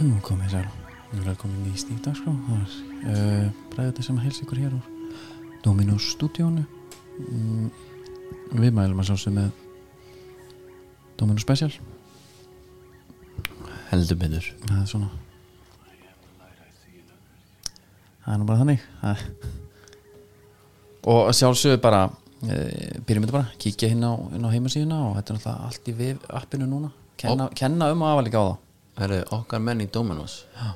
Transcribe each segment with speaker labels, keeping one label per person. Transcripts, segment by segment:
Speaker 1: Jú, komið sér. Við erum komin í stíf dagskrá. Það er uh, bræðið sem að helsa ykkur hér úr Dominus stúdíónu. Mm, við mælum að sá sem með Dominus Special.
Speaker 2: heldur betur
Speaker 1: Það er svona. Það er nú bara þannig. Það- Og að sjálfsögðu bara, uh, byrjum þetta bara, kíkja hinn á, inn á heimasíðuna og þetta er náttúrulega allt í vef appinu núna. Kenna, kenna um og afa líka á það.
Speaker 2: Herru, okkar menn í Dominos
Speaker 1: Já.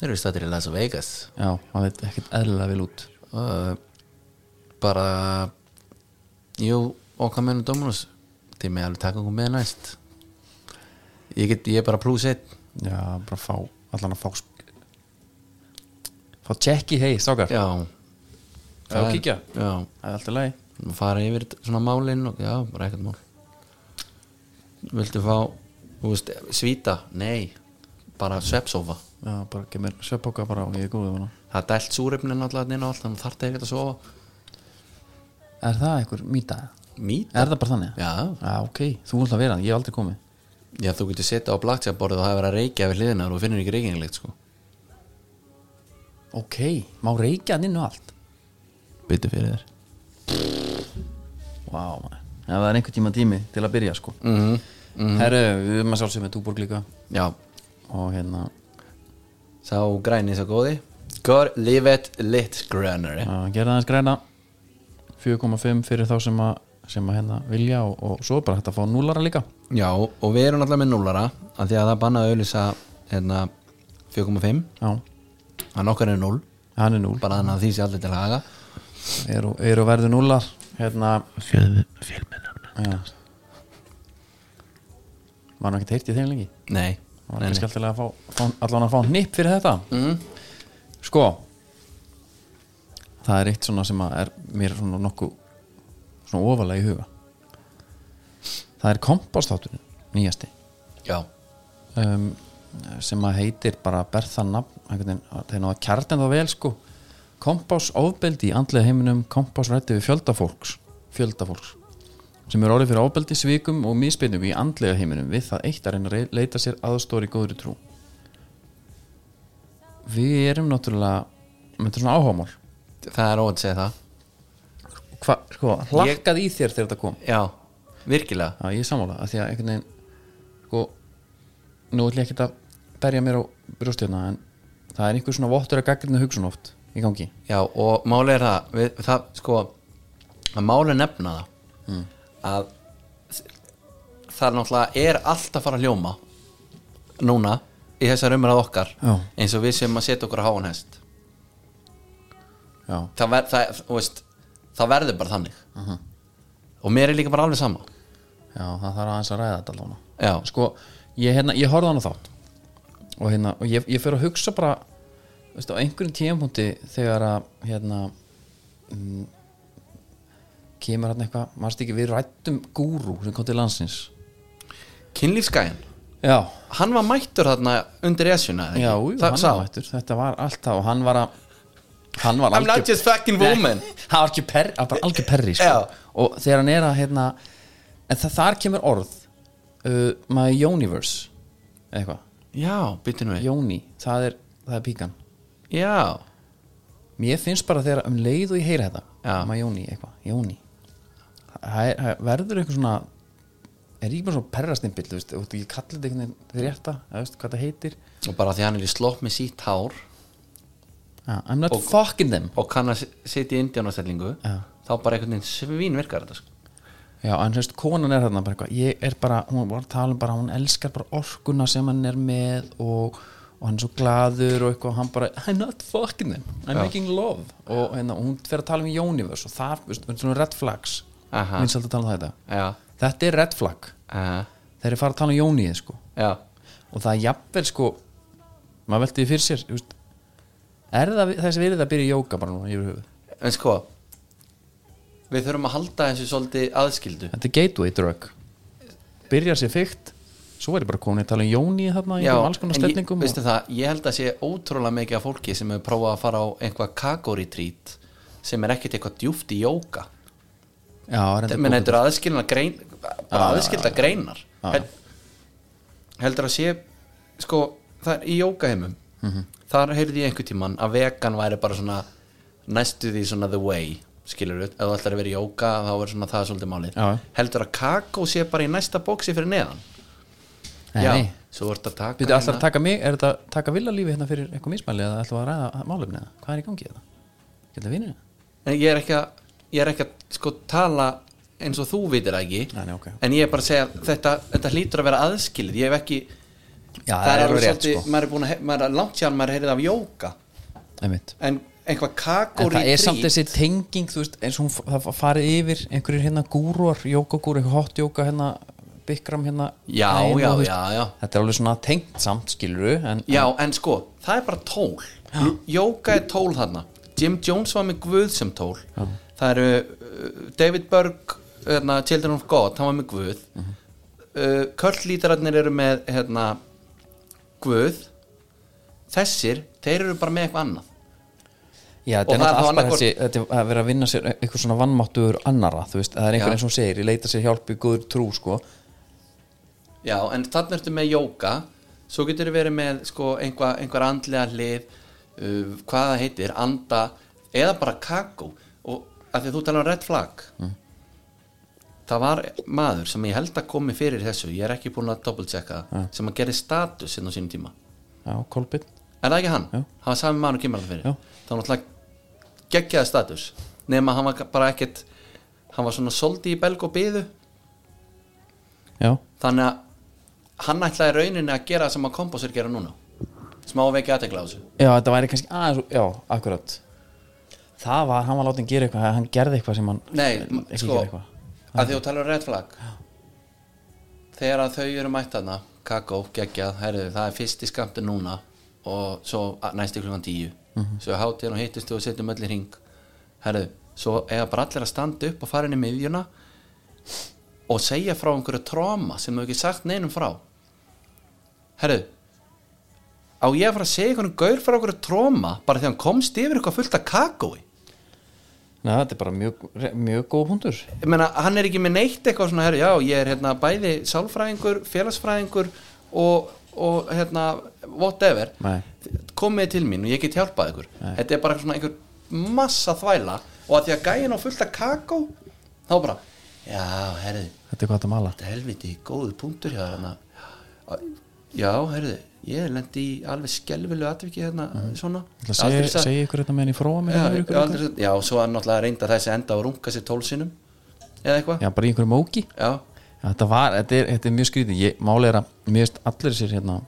Speaker 2: Þeir eru stættir í Las Vegas
Speaker 1: Já, það veit ekkert eðlilega vel út.
Speaker 2: uh, Bara Jú, okkar menn í Dominos Þeir með alveg taka okkur með næst Ég, get, ég er bara plus 1
Speaker 1: Já, bara fá, allan að fá sk- Fá tjekki, hei, stókar
Speaker 2: Já
Speaker 1: Fá að kíkja
Speaker 2: Já,
Speaker 1: Það er alltaf lagi
Speaker 2: og fara yfir svona málin og já, bara ekkert mál Viltu fá þú veist, svíta? Nei bara svepsofa
Speaker 1: Já, bara gef mér sveppoka bara og ég er góðið hana
Speaker 2: Það er dælt súrefnin alltaf þarna inn og allt þannig þarf það ekkert að sofa
Speaker 1: Er það einhver mýta?
Speaker 2: Mít?
Speaker 1: Er það bara þannig?
Speaker 2: Já,
Speaker 1: Já, ok, þú ætla að vera hann, ég hef aldrei komið
Speaker 2: Já, þú getur setja á blaktjaborðið og það er verið að reykja við hliðinar og finnir ekki reykinglegt sko
Speaker 1: Ok, má reykja hann inn og allt
Speaker 2: Byttu fyrir þér
Speaker 1: Vá, wow, Já, það er einhver tíma tími til að byrja, sko mm
Speaker 2: Mhm,
Speaker 1: -hmm. Herru, við erum að sjálfsögum með túborg líka
Speaker 2: Já,
Speaker 1: Og hérna,
Speaker 2: sá græni sá góði Gör livet lit grönari
Speaker 1: að gera aðeins græna 4,5 fyrir þá sem að sem að hérna vilja og, og svo er bara hægt að fá núlara líka
Speaker 2: Já, og við erum alltaf með núlara af því að það bannaði auðlýsa hérna 4,5
Speaker 1: Já,
Speaker 2: Hann okkar er 0
Speaker 1: hann er núl
Speaker 2: bara þannig að því sé allir til haga
Speaker 1: eru, eru verður núlar hérna fjölmennar var nú ekkert heyrt í þeim lengi
Speaker 2: Nei, Mhm.
Speaker 1: það var kannski alltaf að fá, fá allan að fá hnipp fyrir þetta mm. sko það er eitt svona sem að er mér svona nokku svona ofalega í huga það er kompostátturinn nýjasti
Speaker 2: já,
Speaker 1: um, sem að heitir bara berða nafn einhvern veginn, þeir náða kjartin þá vel sko kompás ofbeldi í andlega heiminum kompás rætti við fjöldafólks fjöldafólks sem eru orðið fyrir ofbeldi svikum og misbyrnum í andlega heiminum við það eitt að reyna að rey- leita sér aðstóri góðri trú við erum náttúrulega með þetta er svona áhámál
Speaker 2: það er óvænt að segja það
Speaker 1: Hva, sko, hlakkað í þér þegar þetta kom
Speaker 2: Já, virkilega
Speaker 1: Já, ég er sammála, af því að einhvern veginn sko, nú ætlum ég ekki að berja mér á brjóstjöfna en það er einhver svona vottur að gaggrinu hugsun oft í gangi.
Speaker 2: Já, og málið er það, við, það sko, að málið er nefna það
Speaker 1: Mm.
Speaker 2: að það er náttúrulega er allt að fara að hljóma núna í þessar umræð okkar
Speaker 1: Já.
Speaker 2: eins og við sem að setja okkur að háan hest
Speaker 1: Já.
Speaker 2: það, ver, það, þú veist, það verður bara þannig
Speaker 1: Mhm.
Speaker 2: og mér er líka bara alveg sama
Speaker 1: Já, það þarf aðeins að ræða þetta allavega.
Speaker 2: Já,
Speaker 1: Sko, ég, hérna, ég horfði á hana þátt og, hérna, og ég, ég fyrir að hugsa bara veist, á einhverjum tímpúndi þegar að hérna mm, kemur hann eitthvað, maður ekki við rættum gúrú sem kom til landsins.
Speaker 2: kynlífsgæðin
Speaker 1: Já,
Speaker 2: hann var mættur þarna undir esjuna eða ekki?
Speaker 1: Já, jú,
Speaker 2: Það-
Speaker 1: hann
Speaker 2: sá.
Speaker 1: var mættur, þetta var alltaf og hann var að hann var
Speaker 2: I'm not just fucking woman.
Speaker 1: Nei, hann var ekki perri, hann var bara algjör perri sko.
Speaker 2: Já.
Speaker 1: og þegar hann er að hérna, en það, þar kemur orð uh, my universe eða eitthvað,
Speaker 2: Já, byttu nú við
Speaker 1: Jóni það er, það er píkan
Speaker 2: Já,
Speaker 1: mér finnst bara þegar um leið og ég heyra þetta
Speaker 2: Já.
Speaker 1: my Jóni eitthvað, Jóni það er- það verður eitthvað svona er ég bara svona perrastimpill þú veist, og ég kalli þetta einhvern veginn fyrir rétta þú veist hvað það heitir
Speaker 2: og bara því hann er í slopp með sítt hár
Speaker 1: ah, I'm not
Speaker 2: Og-
Speaker 1: fucking them
Speaker 2: og kann að s- sitja í indjánastellingu
Speaker 1: Já.
Speaker 2: þá bara einhvern veginn svín virkar þetta sko.
Speaker 1: Já, en þú veist, konan er þarna bara eitthvað ég er bara, hún var að tala um bara hún elskar bara orkuna sem hann er með og, og hann er svo gladur og eitthvað og hann bara, I'm not fucking them I'm making love og hérna, og hún fer að tala um Jónivers og það, veist, það er svona red flags
Speaker 2: Aha.
Speaker 1: minnst alltaf að tala um þetta
Speaker 2: Já,
Speaker 1: þetta er red flag,
Speaker 2: uh,
Speaker 1: þeir eru fara að tala um Jónið sko.
Speaker 2: já
Speaker 1: og það er jafnvel sko maður velti því fyrir sér þú veist, er það þessi verið að byrja í jóka bara núna yfir höfuð,
Speaker 2: en sko við þurfum að halda þessu svolítið aðskildu
Speaker 1: þetta er gateway drug byrjar sér fyrkt svo er ég bara komin að tala um Jónið þarna í
Speaker 2: Já,
Speaker 1: alls konar
Speaker 2: en ég,
Speaker 1: stefningum og-
Speaker 2: veistu það, ég held að sé ótrúlega mikið af fólki sem hefur prófað að fara á einhvað kakoritreat sem er ekkert eitthvað djúft í jóka
Speaker 1: Já, reyndar
Speaker 2: menn
Speaker 1: bókað.
Speaker 2: þetta er aðskilna grein bara aðskilda greinar
Speaker 1: já.
Speaker 2: Hel, heldur að sé sko það er í jókaheimum
Speaker 1: Mhm.
Speaker 2: þar heyrði ég einhvern tímann að vegan væri bara svona næstu því svona the way skilur við, ef þú ætlar að vera í jóka þá er svona það svolítið málið
Speaker 1: Já.
Speaker 2: heldur að kakó sé bara í næsta bóksi fyrir neðan
Speaker 1: Nei, nei.
Speaker 2: svo voru þetta að
Speaker 1: Býttu
Speaker 2: taka hérna.
Speaker 1: alltaf að taka mig, er þetta að taka villalífi hérna fyrir eitthvað mismæli eða ætlum við að ræða málefni eða hvað er í gangi þetta? Geta vinnir það?
Speaker 2: En ég er ekki að, ég er ekki að sko tala eins og þú vitir það ekki
Speaker 1: Nei, nei, ok.
Speaker 2: en ég er bara að segja að þetta, þetta hlýtur að vera aðskilið ég hef ekki,
Speaker 1: Já, það er
Speaker 2: alveg
Speaker 1: alveg rétt sko
Speaker 2: maður er búin að, he- maður er langt sér maður er heyrið af jóka
Speaker 1: Einmitt.
Speaker 2: en einhvað
Speaker 1: En
Speaker 2: kakóri
Speaker 1: það er samt þessi tenging, þú veist, eins og hún, f- það farið yfir einhverjir hérna gúruar, jókagúru, einhver hot jóka hérna, bikram hérna
Speaker 2: Já,
Speaker 1: Æ,
Speaker 2: já,
Speaker 1: þú veist,
Speaker 2: já, já
Speaker 1: Þetta er alveg svona tengt samt, skilur en,
Speaker 2: Já, en sko, það er bara tól L- Jóka er tól þarna Jim Jones var með Guð sem tól Það eru uh, David Berg hérna, Children of God, hann var með Guð uh
Speaker 1: Mhm.
Speaker 2: Körlítararnir eru með hérna, Guð Þessir, þeir eru bara með eitthvað annað
Speaker 1: Já, þetta
Speaker 2: Og
Speaker 1: er
Speaker 2: það er
Speaker 1: náttúrulega
Speaker 2: þá
Speaker 1: allt bara
Speaker 2: annað
Speaker 1: þessi þetta er að vera að vinna sér eitthvað svona vannmáttur annara, þú veist, það er einhver
Speaker 2: Já.
Speaker 1: eins og hún segir, ég leita sér hjálp í góður trú, sko
Speaker 2: Já, en þarna ertu með jóka Svo getur verið með sko, einhva, einhver andlega hlið uh, Hvað það heitir, anda Eða bara kakó Og af því að þú talar um red flag
Speaker 1: Mm.
Speaker 2: Það var maður sem ég held að komi fyrir þessu Ég er ekki búin að double checka það Sem að gera status inn á sínum tíma
Speaker 1: Já, Kolbinn,
Speaker 2: Er það ekki hann?
Speaker 1: Já.
Speaker 2: Hann var sami maður og kemur alltaf fyrir
Speaker 1: Já.
Speaker 2: Það var náttúrulega geggjaði status Nefn að hann var bara ekkert Hann var svona soldi í belg og byðu
Speaker 1: já,
Speaker 2: þannig að hann ætlaði í rauninni að gera það sem að kompás er að gera núna smá vekja aðtekla á þessu
Speaker 1: já, þetta væri kannski aðeins, já, akkurat Það var, hann var látið að gera eitthvað, hann gerði eitthvað sem hann
Speaker 2: nei,
Speaker 1: ekki
Speaker 2: sko,
Speaker 1: gera eitthvað
Speaker 2: að því þú talar um red flag þegar að þau eru mættana kakó, geggjað, herðu, það er fyrsti skamti núna og svo að- næsti klukkan tíu svo er hátíðan og hittist og setjum öll í hring herðu, svo eða bara allir að standa upp og fara inn í miðjuna og segja frá einhverju tróma sem þau ekki sagt neinum frá herðu á ég að fara að segja einhvern gaur frá einhverju tróma bara þegar hann komst yfir eitthvað fullt af kakói
Speaker 1: Nei, þetta er bara mjög, mjög góð hundur
Speaker 2: ég meina, hann er ekki með neitt eitthvað svona herri, já, ég er hérna bæði sálfræðingur félagsfræðingur og, og hérna, whatever
Speaker 1: Nei.
Speaker 2: komið til mín og ég get hjálpað ykkur þetta er bara svona einhver massa þvæla og að því að gæin á fullt af kakó þá bara, já, herri
Speaker 1: Þetta er hvað þetta mala
Speaker 2: þetta er helviti góðu punktur hjá þarna já, herri, ég lendi í alveg skelvilu atviki hérna,
Speaker 1: Mhm.
Speaker 2: svona
Speaker 1: Það segi,
Speaker 2: Aldrei sagt-
Speaker 1: segi ykkur þetta meðan í fróa mér hérna
Speaker 2: já,
Speaker 1: já,
Speaker 2: já, aldrei- já, svo er náttúrulega reynda þessi enda og runga sér tólsinum eða eitthvað
Speaker 1: já, bara í einhverju móki
Speaker 2: Já,
Speaker 1: Já, Þetta var, þetta er, þetta er mjög skrítið ég, Máli er að, mér veist allir sér hérna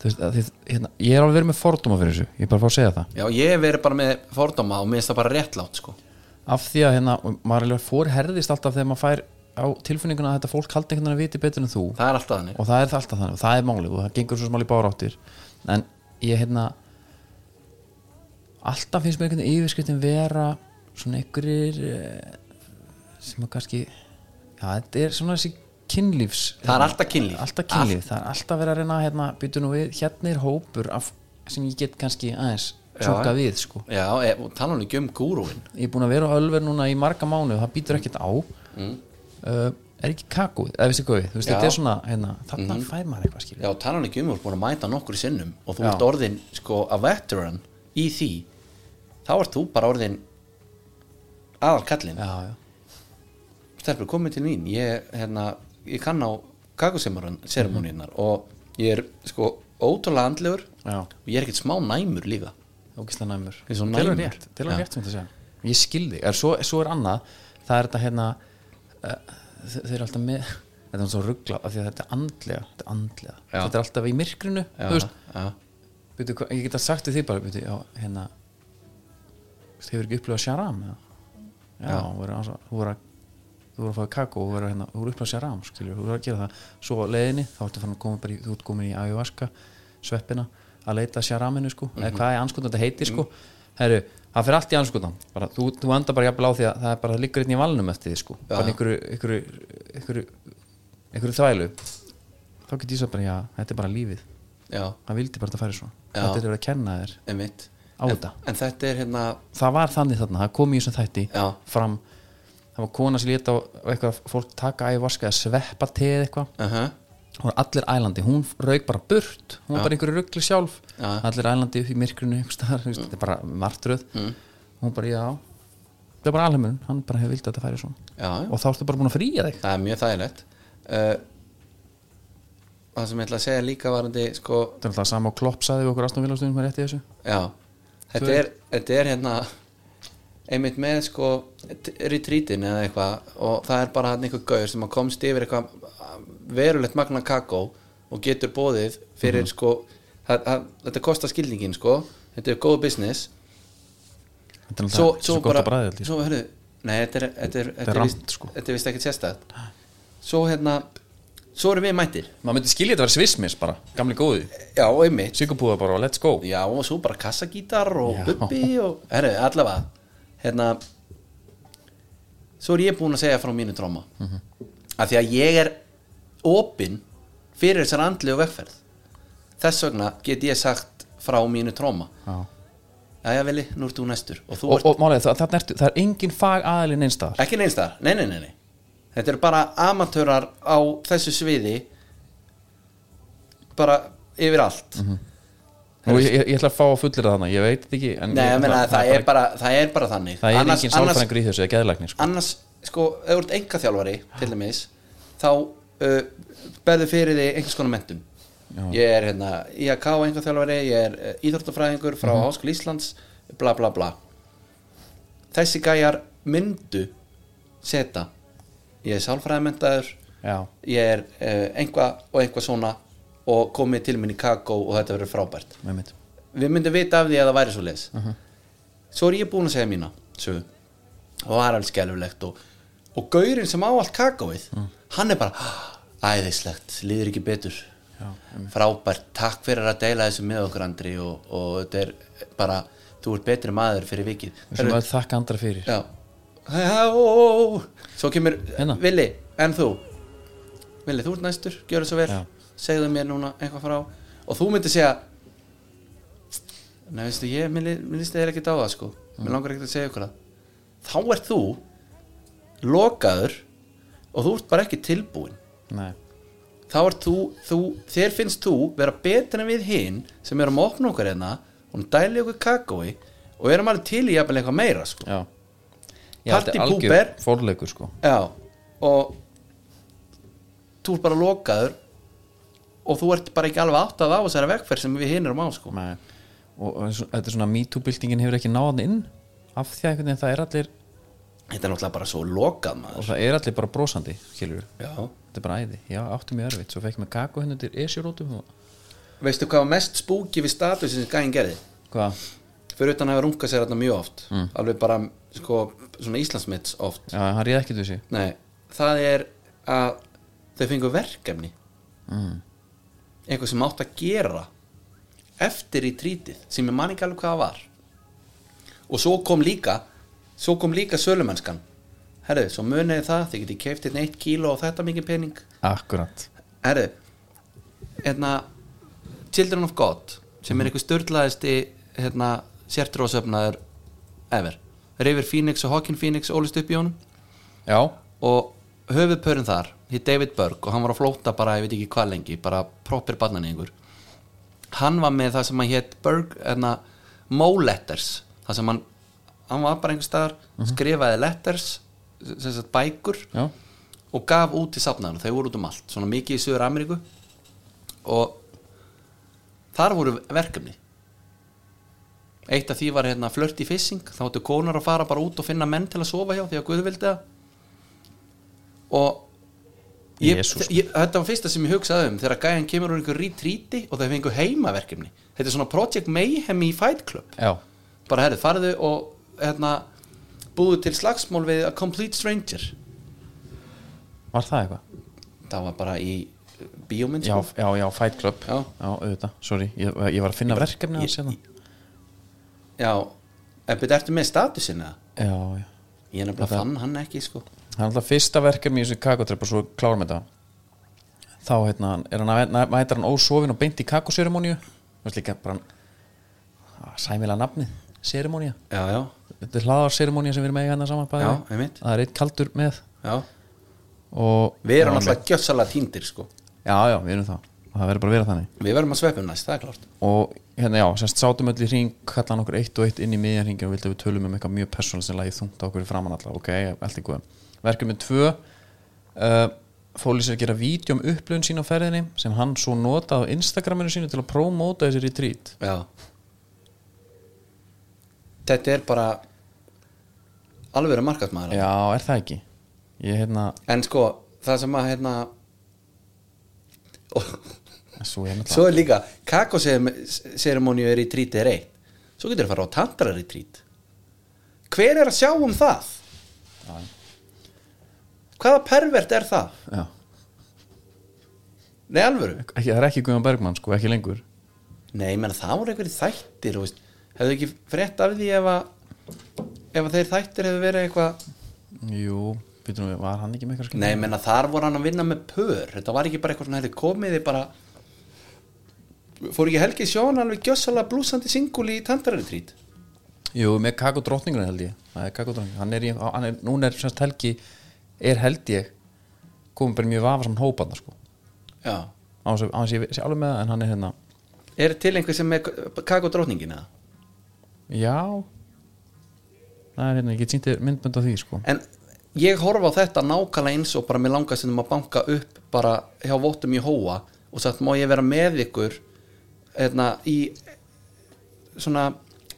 Speaker 1: Þú veist, að þið, hérna Ég er alveg verið með fordóma fyrir þessu, ég er bara að fá að segja það
Speaker 2: já ég hef verið bara með fordóma og mér finnst það bara réttlátt sko.
Speaker 1: Af því að hérna, og maður alveg fórherðist alltaf þegar maður fær á tilfinninguna að þetta fólk haldi einhvern veginn að viti betur en þú
Speaker 2: Það er alltaf þannig
Speaker 1: og það er það alltaf þannig, og það er málið og það gengur svo smáli báráttir en ég hérna alltaf finnst mér einhvern veginn yfirskriftin vera svona einhverjir eh, sem að kannski já, þetta er svona þessi kynlífs
Speaker 2: Það er alltaf kynlíf.
Speaker 1: alltaf kynlíf, það er alltaf verið að reyna að, hérna, býtu nú við, hérna er hópur af, sem ég get kannski aðeins
Speaker 2: Já.
Speaker 1: tjóka við sko
Speaker 2: Já, e, og tala hann ekki um gúrúin
Speaker 1: ég er búin að vera á ölver núna í marga mánu það býtur ekkert á uh, er ekki kakúð, eða veistu góði þú veist,
Speaker 2: Mm. Já. Mhm.
Speaker 1: þetta er svona, hérna, þarna fær maður eitthvað skilur
Speaker 2: Já, tala hann ekki um, þú ert búin að mæta nokkur sinnum og þú
Speaker 1: Já.
Speaker 2: ert orðin sko a veteran í því þá ert þú bara orðin aðal kallin
Speaker 1: já, já.
Speaker 2: Stelpur, komið til mín ég, hérna, ég kann á kakuseremoníunar og ég er sko ótrúlega andlegur
Speaker 1: Já.
Speaker 2: og ég er ekkert smá næmur líka
Speaker 1: ógislega næmur
Speaker 2: Eins og
Speaker 1: Til og
Speaker 2: næmur.
Speaker 1: rétt, til og
Speaker 2: Já.
Speaker 1: rétt sem þetta segja ég skildi, er, svo, svo er annað það er þetta hérna uh, þe- þeir eru alltaf með þetta er svo ruggla, af því að þetta er andlega þetta er andlega,
Speaker 2: Já.
Speaker 1: þetta er alltaf í myrkrinu þú veist,
Speaker 2: já.
Speaker 1: byrju, hva- ég geta sagt við því bara byrju, já, hérna þú veist, hefur ekki upplifað sjaram já, já. Þú, voru, að- þú voru að þú voru að fá kakó, þú voru, að, hérna, þú voru upplifað sjaram skilur, þú voru að gera það, svo á leiðinni þá ertu farin að koma bara í, þú ert komin í ayahuasca sveppina, að leita að sjaraminu sko, eða hvað er anskotan þetta heitir sko herru, það fyrir allt í anskotan bara, þú, þú enda bara jafnvel á því að það er bara það liggur einn í valnum eftir því sko, bara einhverju einhverju, einhverju, einhverju þvælu þá get ég svo bara, já, þetta er bara lífið
Speaker 2: já,
Speaker 1: hann vildi bara að færi svona
Speaker 2: Já.
Speaker 1: þetta er verið að kenna þér
Speaker 2: einmitt
Speaker 1: Á
Speaker 2: en,
Speaker 1: þetta.
Speaker 2: en þetta er hérna
Speaker 1: það var þannig þarna, það kom í þessum þætti
Speaker 2: Já.
Speaker 1: fram, það var kona sem lét á eitthvað fólk taka ævaska eða sveppa teð eitthvað
Speaker 2: uh
Speaker 1: og Það voru allir ælandi, hún rauk bara burt hún var bara einhverju ruggli sjálf
Speaker 2: Já.
Speaker 1: allir ælandi upp í myrkrinu einhvers staðar, mm. þetta er bara martröð hún bara, já, það er bara alheimurinn hann bara hefur vild að þetta færi svona
Speaker 2: já, já.
Speaker 1: og þá ertu bara búin að fríja þig
Speaker 2: það er mjög þægilegt uh, það sem ég ætla að segja líka varandi sko,
Speaker 1: þetta er alltaf sama og klopp saði við okkur Aston Villa stundum hvað rétt í þessu
Speaker 2: já þetta er, þetta er hérna einmitt með sko t- retreatin eða eitthvað og það er bara hann einhver gaur sem að komst yfir eitthvað um, verulegt magna kakó og getur bóðið fyrir
Speaker 1: Mhm.
Speaker 2: sko það, það, þetta kostar skilningin sko þetta er góð business
Speaker 1: þetta er alltaf
Speaker 2: svo,
Speaker 1: svo,
Speaker 2: svo
Speaker 1: gott
Speaker 2: bara
Speaker 1: að bræði alltaf
Speaker 2: svo, hörðu, nei, þetta er þetta er,
Speaker 1: sko. er
Speaker 2: þetta er,
Speaker 1: rangt,
Speaker 2: víst-
Speaker 1: sko.
Speaker 2: þetta er vist ekkert sérstætt svo hérna, svo erum við mættir
Speaker 1: maður myndi skilja þetta að vera svismis bara, gamli góði
Speaker 2: já, og einmitt
Speaker 1: sykupúða bara og let's go
Speaker 2: já, og svo bara kassagítar og
Speaker 1: Já.
Speaker 2: bubbi og, herru, allavega hérna svo er ég búinn að segja frá mínu tróma
Speaker 1: Mhm.
Speaker 2: af því að ég er opinn fyrir þessar andli og vegferð þess vegna get ég sagt frá mínu tróma
Speaker 1: Já.
Speaker 2: Jæja, Vili, nú ert þú næstur og þú
Speaker 1: og, og málið, það, það, ertu, það er engin fag aðalinn einstæðar
Speaker 2: ekki neins þar, nei, nei, nei, nei þetta eru bara amatörar á þessu sviði bara yfir allt
Speaker 1: Mhm. og ég, ég, ég ætla að fá að fullir það þannig, ég veit þetta ekki en
Speaker 2: nei,
Speaker 1: ég,
Speaker 2: ég meina, það,
Speaker 1: það,
Speaker 2: er bara, það er bara þannig
Speaker 1: það er
Speaker 2: annars,
Speaker 1: engin
Speaker 2: annars,
Speaker 1: sálfræðingur í þessu, það er geðlæknir sko.
Speaker 2: annars, sko, ef þú ert enga þjálfari til dæmis, þá uh, berðu fyrir þig einhvers konar mentum ég er hérna IHK enga þjálfari, ég er uh, íþróttafræðingur frá mm Háskóla Íslands, bla bla bla þessi gæjar myndu seta ég er sálfræðimentaður
Speaker 1: Já.
Speaker 2: ég er uh, einhvað og einhvað svona og komið til minni kakó og þetta verður frábært
Speaker 1: Einmitt.
Speaker 2: við myndum vita af því að það væri svo leis
Speaker 1: Mhm.
Speaker 2: svo er ég búin að segja mína sögu. og það er alveg skelfulegt og, og gaurinn sem á allt kakóið
Speaker 1: Mm.
Speaker 2: hann er bara "Ah, æðislegt, líður ekki betur
Speaker 1: Já,
Speaker 2: frábært, takk fyrir að deila þessu með okkur Andri og, og þetta er bara, þú ert betri maður fyrir vikið
Speaker 1: Við sem öll þakka andra fyrir
Speaker 2: Já Hello. Svo kemur
Speaker 1: Hérna.
Speaker 2: Vili, en þú Vili, þú ert næstur, gjör það svo vel
Speaker 1: Já.
Speaker 2: Segðu mér núna eitthvað frá Og þú myndir segja Nei, veistu, ég, mér li- mér líst þér ekki á það sko
Speaker 1: Mm.
Speaker 2: Mér langar ekkert að segja ykkur það Þá ert þú Lokaður Og þú ert bara ekki tilbúin
Speaker 1: Nei.
Speaker 2: Þá ert þú, þú Þér finnst þú vera betur en við hinn Sem erum að opna okkur hérna Og dæli okkur kakói Og erum alveg til í jafnvel eitthvað meira sko
Speaker 1: Já.
Speaker 2: Party pooper.
Speaker 1: fórleikur sko
Speaker 2: Já, og þú ert bara lokaður og þú ert bara ekki alveg áttað á þessari vegferð sem við hinn erum á sko.
Speaker 1: Nei. og og eins og- þetta er svona MeToo-byltingin hefur ekki náðan inn af því að einhvern veginn það er allir
Speaker 2: Þetta er náttúrulega bara svo lokað
Speaker 1: og
Speaker 2: maður.
Speaker 1: það er allir bara brosandi skilur
Speaker 2: Já.
Speaker 1: þetta er bara æði, já, átti mjög erfitt svo fekk ég með kakó hérna henni til esjurótum og
Speaker 2: Veistu hvað var mest spúki við statusin sem gæðin gerði?
Speaker 1: hvað,
Speaker 2: Fyrir utan að hafa runkað sér þarna mjög oft. Alveg bara sko, svona Íslandsmits oft.
Speaker 1: já, hann réð ekki þessi
Speaker 2: Nei, það er að þau fengu verkefni.
Speaker 1: mm.
Speaker 2: Eitthvað sem átt að gera eftir í trítið sem ég man ekki alveg hvað það var. og svo kom líka svo kom líka sölumennskan herru, svo muniði það, þið getið keift einn eitt kíló og þetta mikið pening
Speaker 1: akkurat
Speaker 2: herru, hérna Children of God sem er einhver störlaðisti hérna, sértróðsöfnaður ever, River Phoenix og Hawking Phoenix ólist upp í honum
Speaker 1: já,
Speaker 2: og höfuðpörin þar hitt David Berg og hann var að flóta bara, ég veit ekki hvað lengi bara proper barnanegur hann var með það sem hann hétt Berg, enna, Mo hérna, Letters það sem hann, hann var bara einhver staðar skrifaði letters sem sagt bækur
Speaker 1: já,
Speaker 2: og gaf út í safnaðan, þau voru út um allt svona mikið í Suður Ameríku og þar voru verkefni eitt af því var hérna flirty fishing þá áttu konar að fara bara út og finna menn til að sofa hjá því að Guð vildi það og ég,
Speaker 1: Jesús.
Speaker 2: ég, þetta var fyrsta sem ég hugsaði um þegar gæjan kemur úr einhver retreati og þau fengu heimaverkefni þetta er svona Project Mayhem í Fight Club
Speaker 1: já,
Speaker 2: bara herrið, farðu og hérna, búðu til slagsmál við a complete stranger
Speaker 1: var það eitthvað
Speaker 2: það var bara í uh, bíómynd
Speaker 1: já,
Speaker 2: sko.
Speaker 1: já, já, Fight Club
Speaker 2: Já.
Speaker 1: auðvitað, sorry, ég, ég var að finna verkefni
Speaker 2: ég-
Speaker 1: hans hérna
Speaker 2: já, en betur ertu með statusinn eða?
Speaker 1: já, já
Speaker 2: ég er nefnilega fann hann ekki sko
Speaker 1: Það er alltaf fyrsta verkefni í þessu kakotrepp og svo klárum þetta þá hérna, er hann að, næ- mætir hann ósofin og beint í kakoseremoníu veist líka bara ah, sæmilega nafnið, seremonía
Speaker 2: já, já,
Speaker 1: þetta er hlaðarseremonía sem við erum með hérna saman bæði
Speaker 2: Já,
Speaker 1: við.
Speaker 2: einmitt.
Speaker 1: það er eitt kaldur með
Speaker 2: já
Speaker 1: og
Speaker 2: við erum alltaf gjössalega týndir sko
Speaker 1: já, já, við erum það það verður bara að vera þannig
Speaker 2: Við verðum að svepum næst, það er klart
Speaker 1: og hérna já, semst sátum öll í hring kallan okkur eitt og eitt inn í miðjarringin og vildi að við tölum um eitthvað mjög persónlega sem lagi þungt á okkur í framan alla, ok, allt í góðum verkefni tvö uh, fólið sér að gera vídeo um upplöfun sín á ferðinni sem hann svo notaði á Instagraminu sínu til að prómóta þessi retreat
Speaker 2: Já Þetta er bara alveg verið markaðsmaður
Speaker 1: já, er það ekki? ég hérna,
Speaker 2: En sko, það sem að hérna og,
Speaker 1: svo hérna
Speaker 2: Svo er líka, kakoseremóni er í trít er eitt Svo getur það að fara á tantra í trít Hver er að sjá um það?
Speaker 1: Já.
Speaker 2: Hvaða pervert er það?
Speaker 1: já,
Speaker 2: Nei, alvöru
Speaker 1: ekki, það er ekki Guðjón Bergmann sko, ekki lengur
Speaker 2: Nei, menn það voru einhverjir þættir þú veist. Hefðu ekki frétt af því ef að ef að þeir þættir hefðu verið eitthvað
Speaker 1: jú, býtum við, var hann ekki með eitthvað skil
Speaker 2: Nei, menna þar voru hann að vinna með pör Þetta var ekki bara eitthvað svona, hefði komið þið bara Fór ekki Helgi Sjón alveg gjössalega blúsandi singul í tandararitrít
Speaker 1: Jú, með kakó drottningur held ég Það er kakó drottningur Hann er, í, hann er, núna er semst helgi Er held ég Komum bara í mjög vafa saman hópaðna sko
Speaker 2: Já
Speaker 1: Án þess að- án þess að ég sé alveg með það En hann er hérna
Speaker 2: Er til einhver sem er kakodrótningina?
Speaker 1: Já Það er hérna, ég get sýnti myndbönd á því sko
Speaker 2: En ég horfa á þetta nákvæmlega eins og bara mér langast um að banka upp bara hjá vóttum í hóa og sagt má ég vera með ykkur hérna, í svona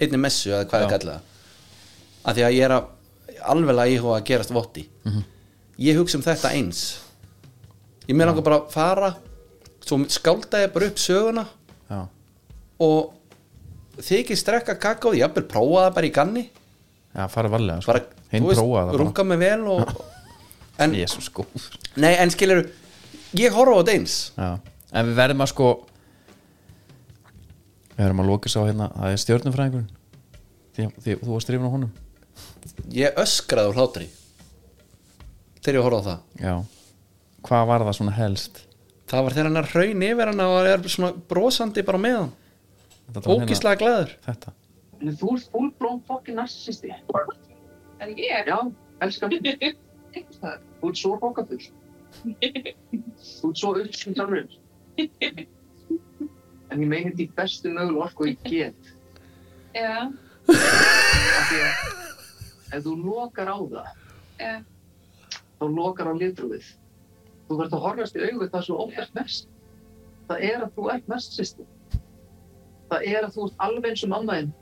Speaker 2: einni messu eða hvað
Speaker 1: Já.
Speaker 2: er kallað af því að ég er að alveglega íhuga að gerast votti ég hugsa um þetta eins ég mér langar bara að fara svo skálda ég bara upp söguna
Speaker 1: Já,
Speaker 2: og þykir strekka kakó jafnvel prófa það bara í ganni
Speaker 1: Já farið varlega sko
Speaker 2: bara,
Speaker 1: Hinn prófaði það bara
Speaker 2: runga mig vel og, en,
Speaker 1: Jésus sko
Speaker 2: nei, en skilur ég horfa á þetta eins
Speaker 1: Já En við verðum að sko Við verðum að loka sá hérna Það er stjörnumfræðingurinn því, því þú varst drifin á honum
Speaker 2: ég öskraði úr hlátri þegar ég horfa á það
Speaker 1: Já Hvað var það svona helst?
Speaker 2: það var þegar hann er hraun yfir hann og er svona brosandi bara með hann
Speaker 1: Þetta var hérna-
Speaker 2: ógíslega glæður
Speaker 1: Þetta
Speaker 3: En þú ert fullblóm fokkin narcissisti.
Speaker 4: Er ég?
Speaker 3: Já, elskar þú. Þú ert svo bókafull. Þú ert svo upp sem þarfur. En ég meina þetta í bestu mögulega orku ég get.
Speaker 4: Já,
Speaker 3: Af því að ef þú lokar á það,
Speaker 4: já,
Speaker 3: þá lokar á litrúið. Þú verður að horfast í augu það sem þú óttast mest. Það er að þú ert narcissisti. Það er að þú ert alveg eins og mamma þinn.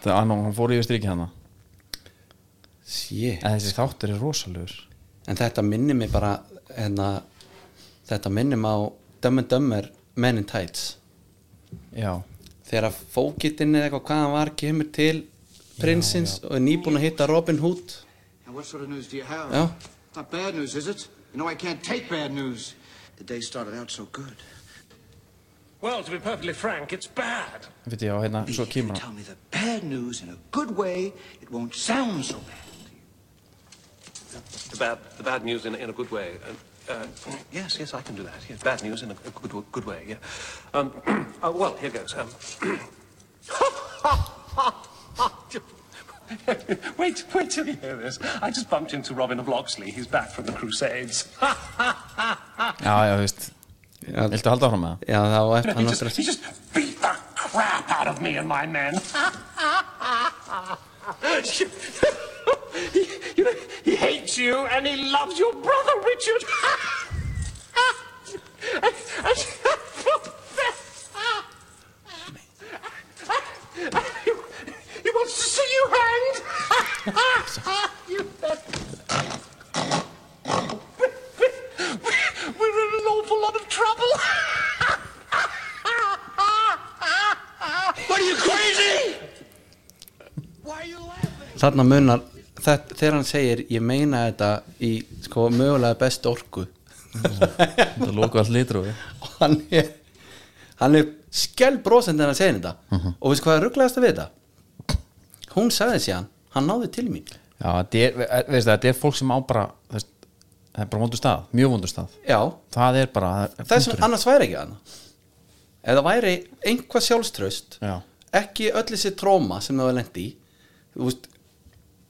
Speaker 1: Það hann, ah, hann fór yfir strikið hana
Speaker 2: Shit.
Speaker 1: En þessi þáttur er rosalegur
Speaker 2: en þetta minnir mig bara hérna, þetta minnir mig á Dumb and Dumber Men in Tights
Speaker 1: Já,
Speaker 2: þegar að fókitinn eða eitthvað hvað hann var kemur til prinsins og er nýbúin að hitta Robin Hood
Speaker 5: Now, what sort of news do you have?
Speaker 2: Yeah.
Speaker 5: Not bad news, is it? You know, I can't take bad news. The day started out so good.
Speaker 6: Well, to be perfectly frank, it's bad.
Speaker 1: veit ég á hérna, svo
Speaker 5: if you
Speaker 1: kemur
Speaker 5: tell
Speaker 1: hann
Speaker 5: me the bad news in a good way, it won't sound so bad.
Speaker 6: The bad, the bad news in, in a good way. And, uh, yes, yes, I can do that. Yes, bad news in a, a good, w- good way. Yeah. Um, uh, well, here goes. Um, wait, wait till you hear this. I just bumped into Robin of Locksley. He's back from the Crusades.
Speaker 1: Já, já, þú veist
Speaker 2: Já.
Speaker 1: Viltu halda áfram með það?
Speaker 2: já þá er
Speaker 6: he,
Speaker 2: hann
Speaker 6: just,
Speaker 2: aftur
Speaker 6: he just beat the crap out of me and my men. he, you know, he hates you and he loves your brother, Richard. And- and- he, he wants to see you hanged. you, we're in an awful lot of trouble.
Speaker 2: þarna munar þetta, þegar hann segir ég meina þetta í sko mögulega best orku
Speaker 1: Þetta lóku allt litur og
Speaker 2: og hann er hann er skell brosend en að segja þetta og veistu hvað er rugglegast að við þetta hún sagði sér hann hann náði til mín
Speaker 1: Já, þetta er, ve- veist það, þetta er fólk sem á bara þú veist, Það er bara vondur stað, mjög vondur stað
Speaker 2: já,
Speaker 1: Það er bara það er
Speaker 2: þess
Speaker 1: punkturinn.
Speaker 2: að annars væri ekki hann ef það væri einhvað sjálfströst
Speaker 1: Já.
Speaker 2: ekki öll þessi tróma sem það var lendi í þú veist,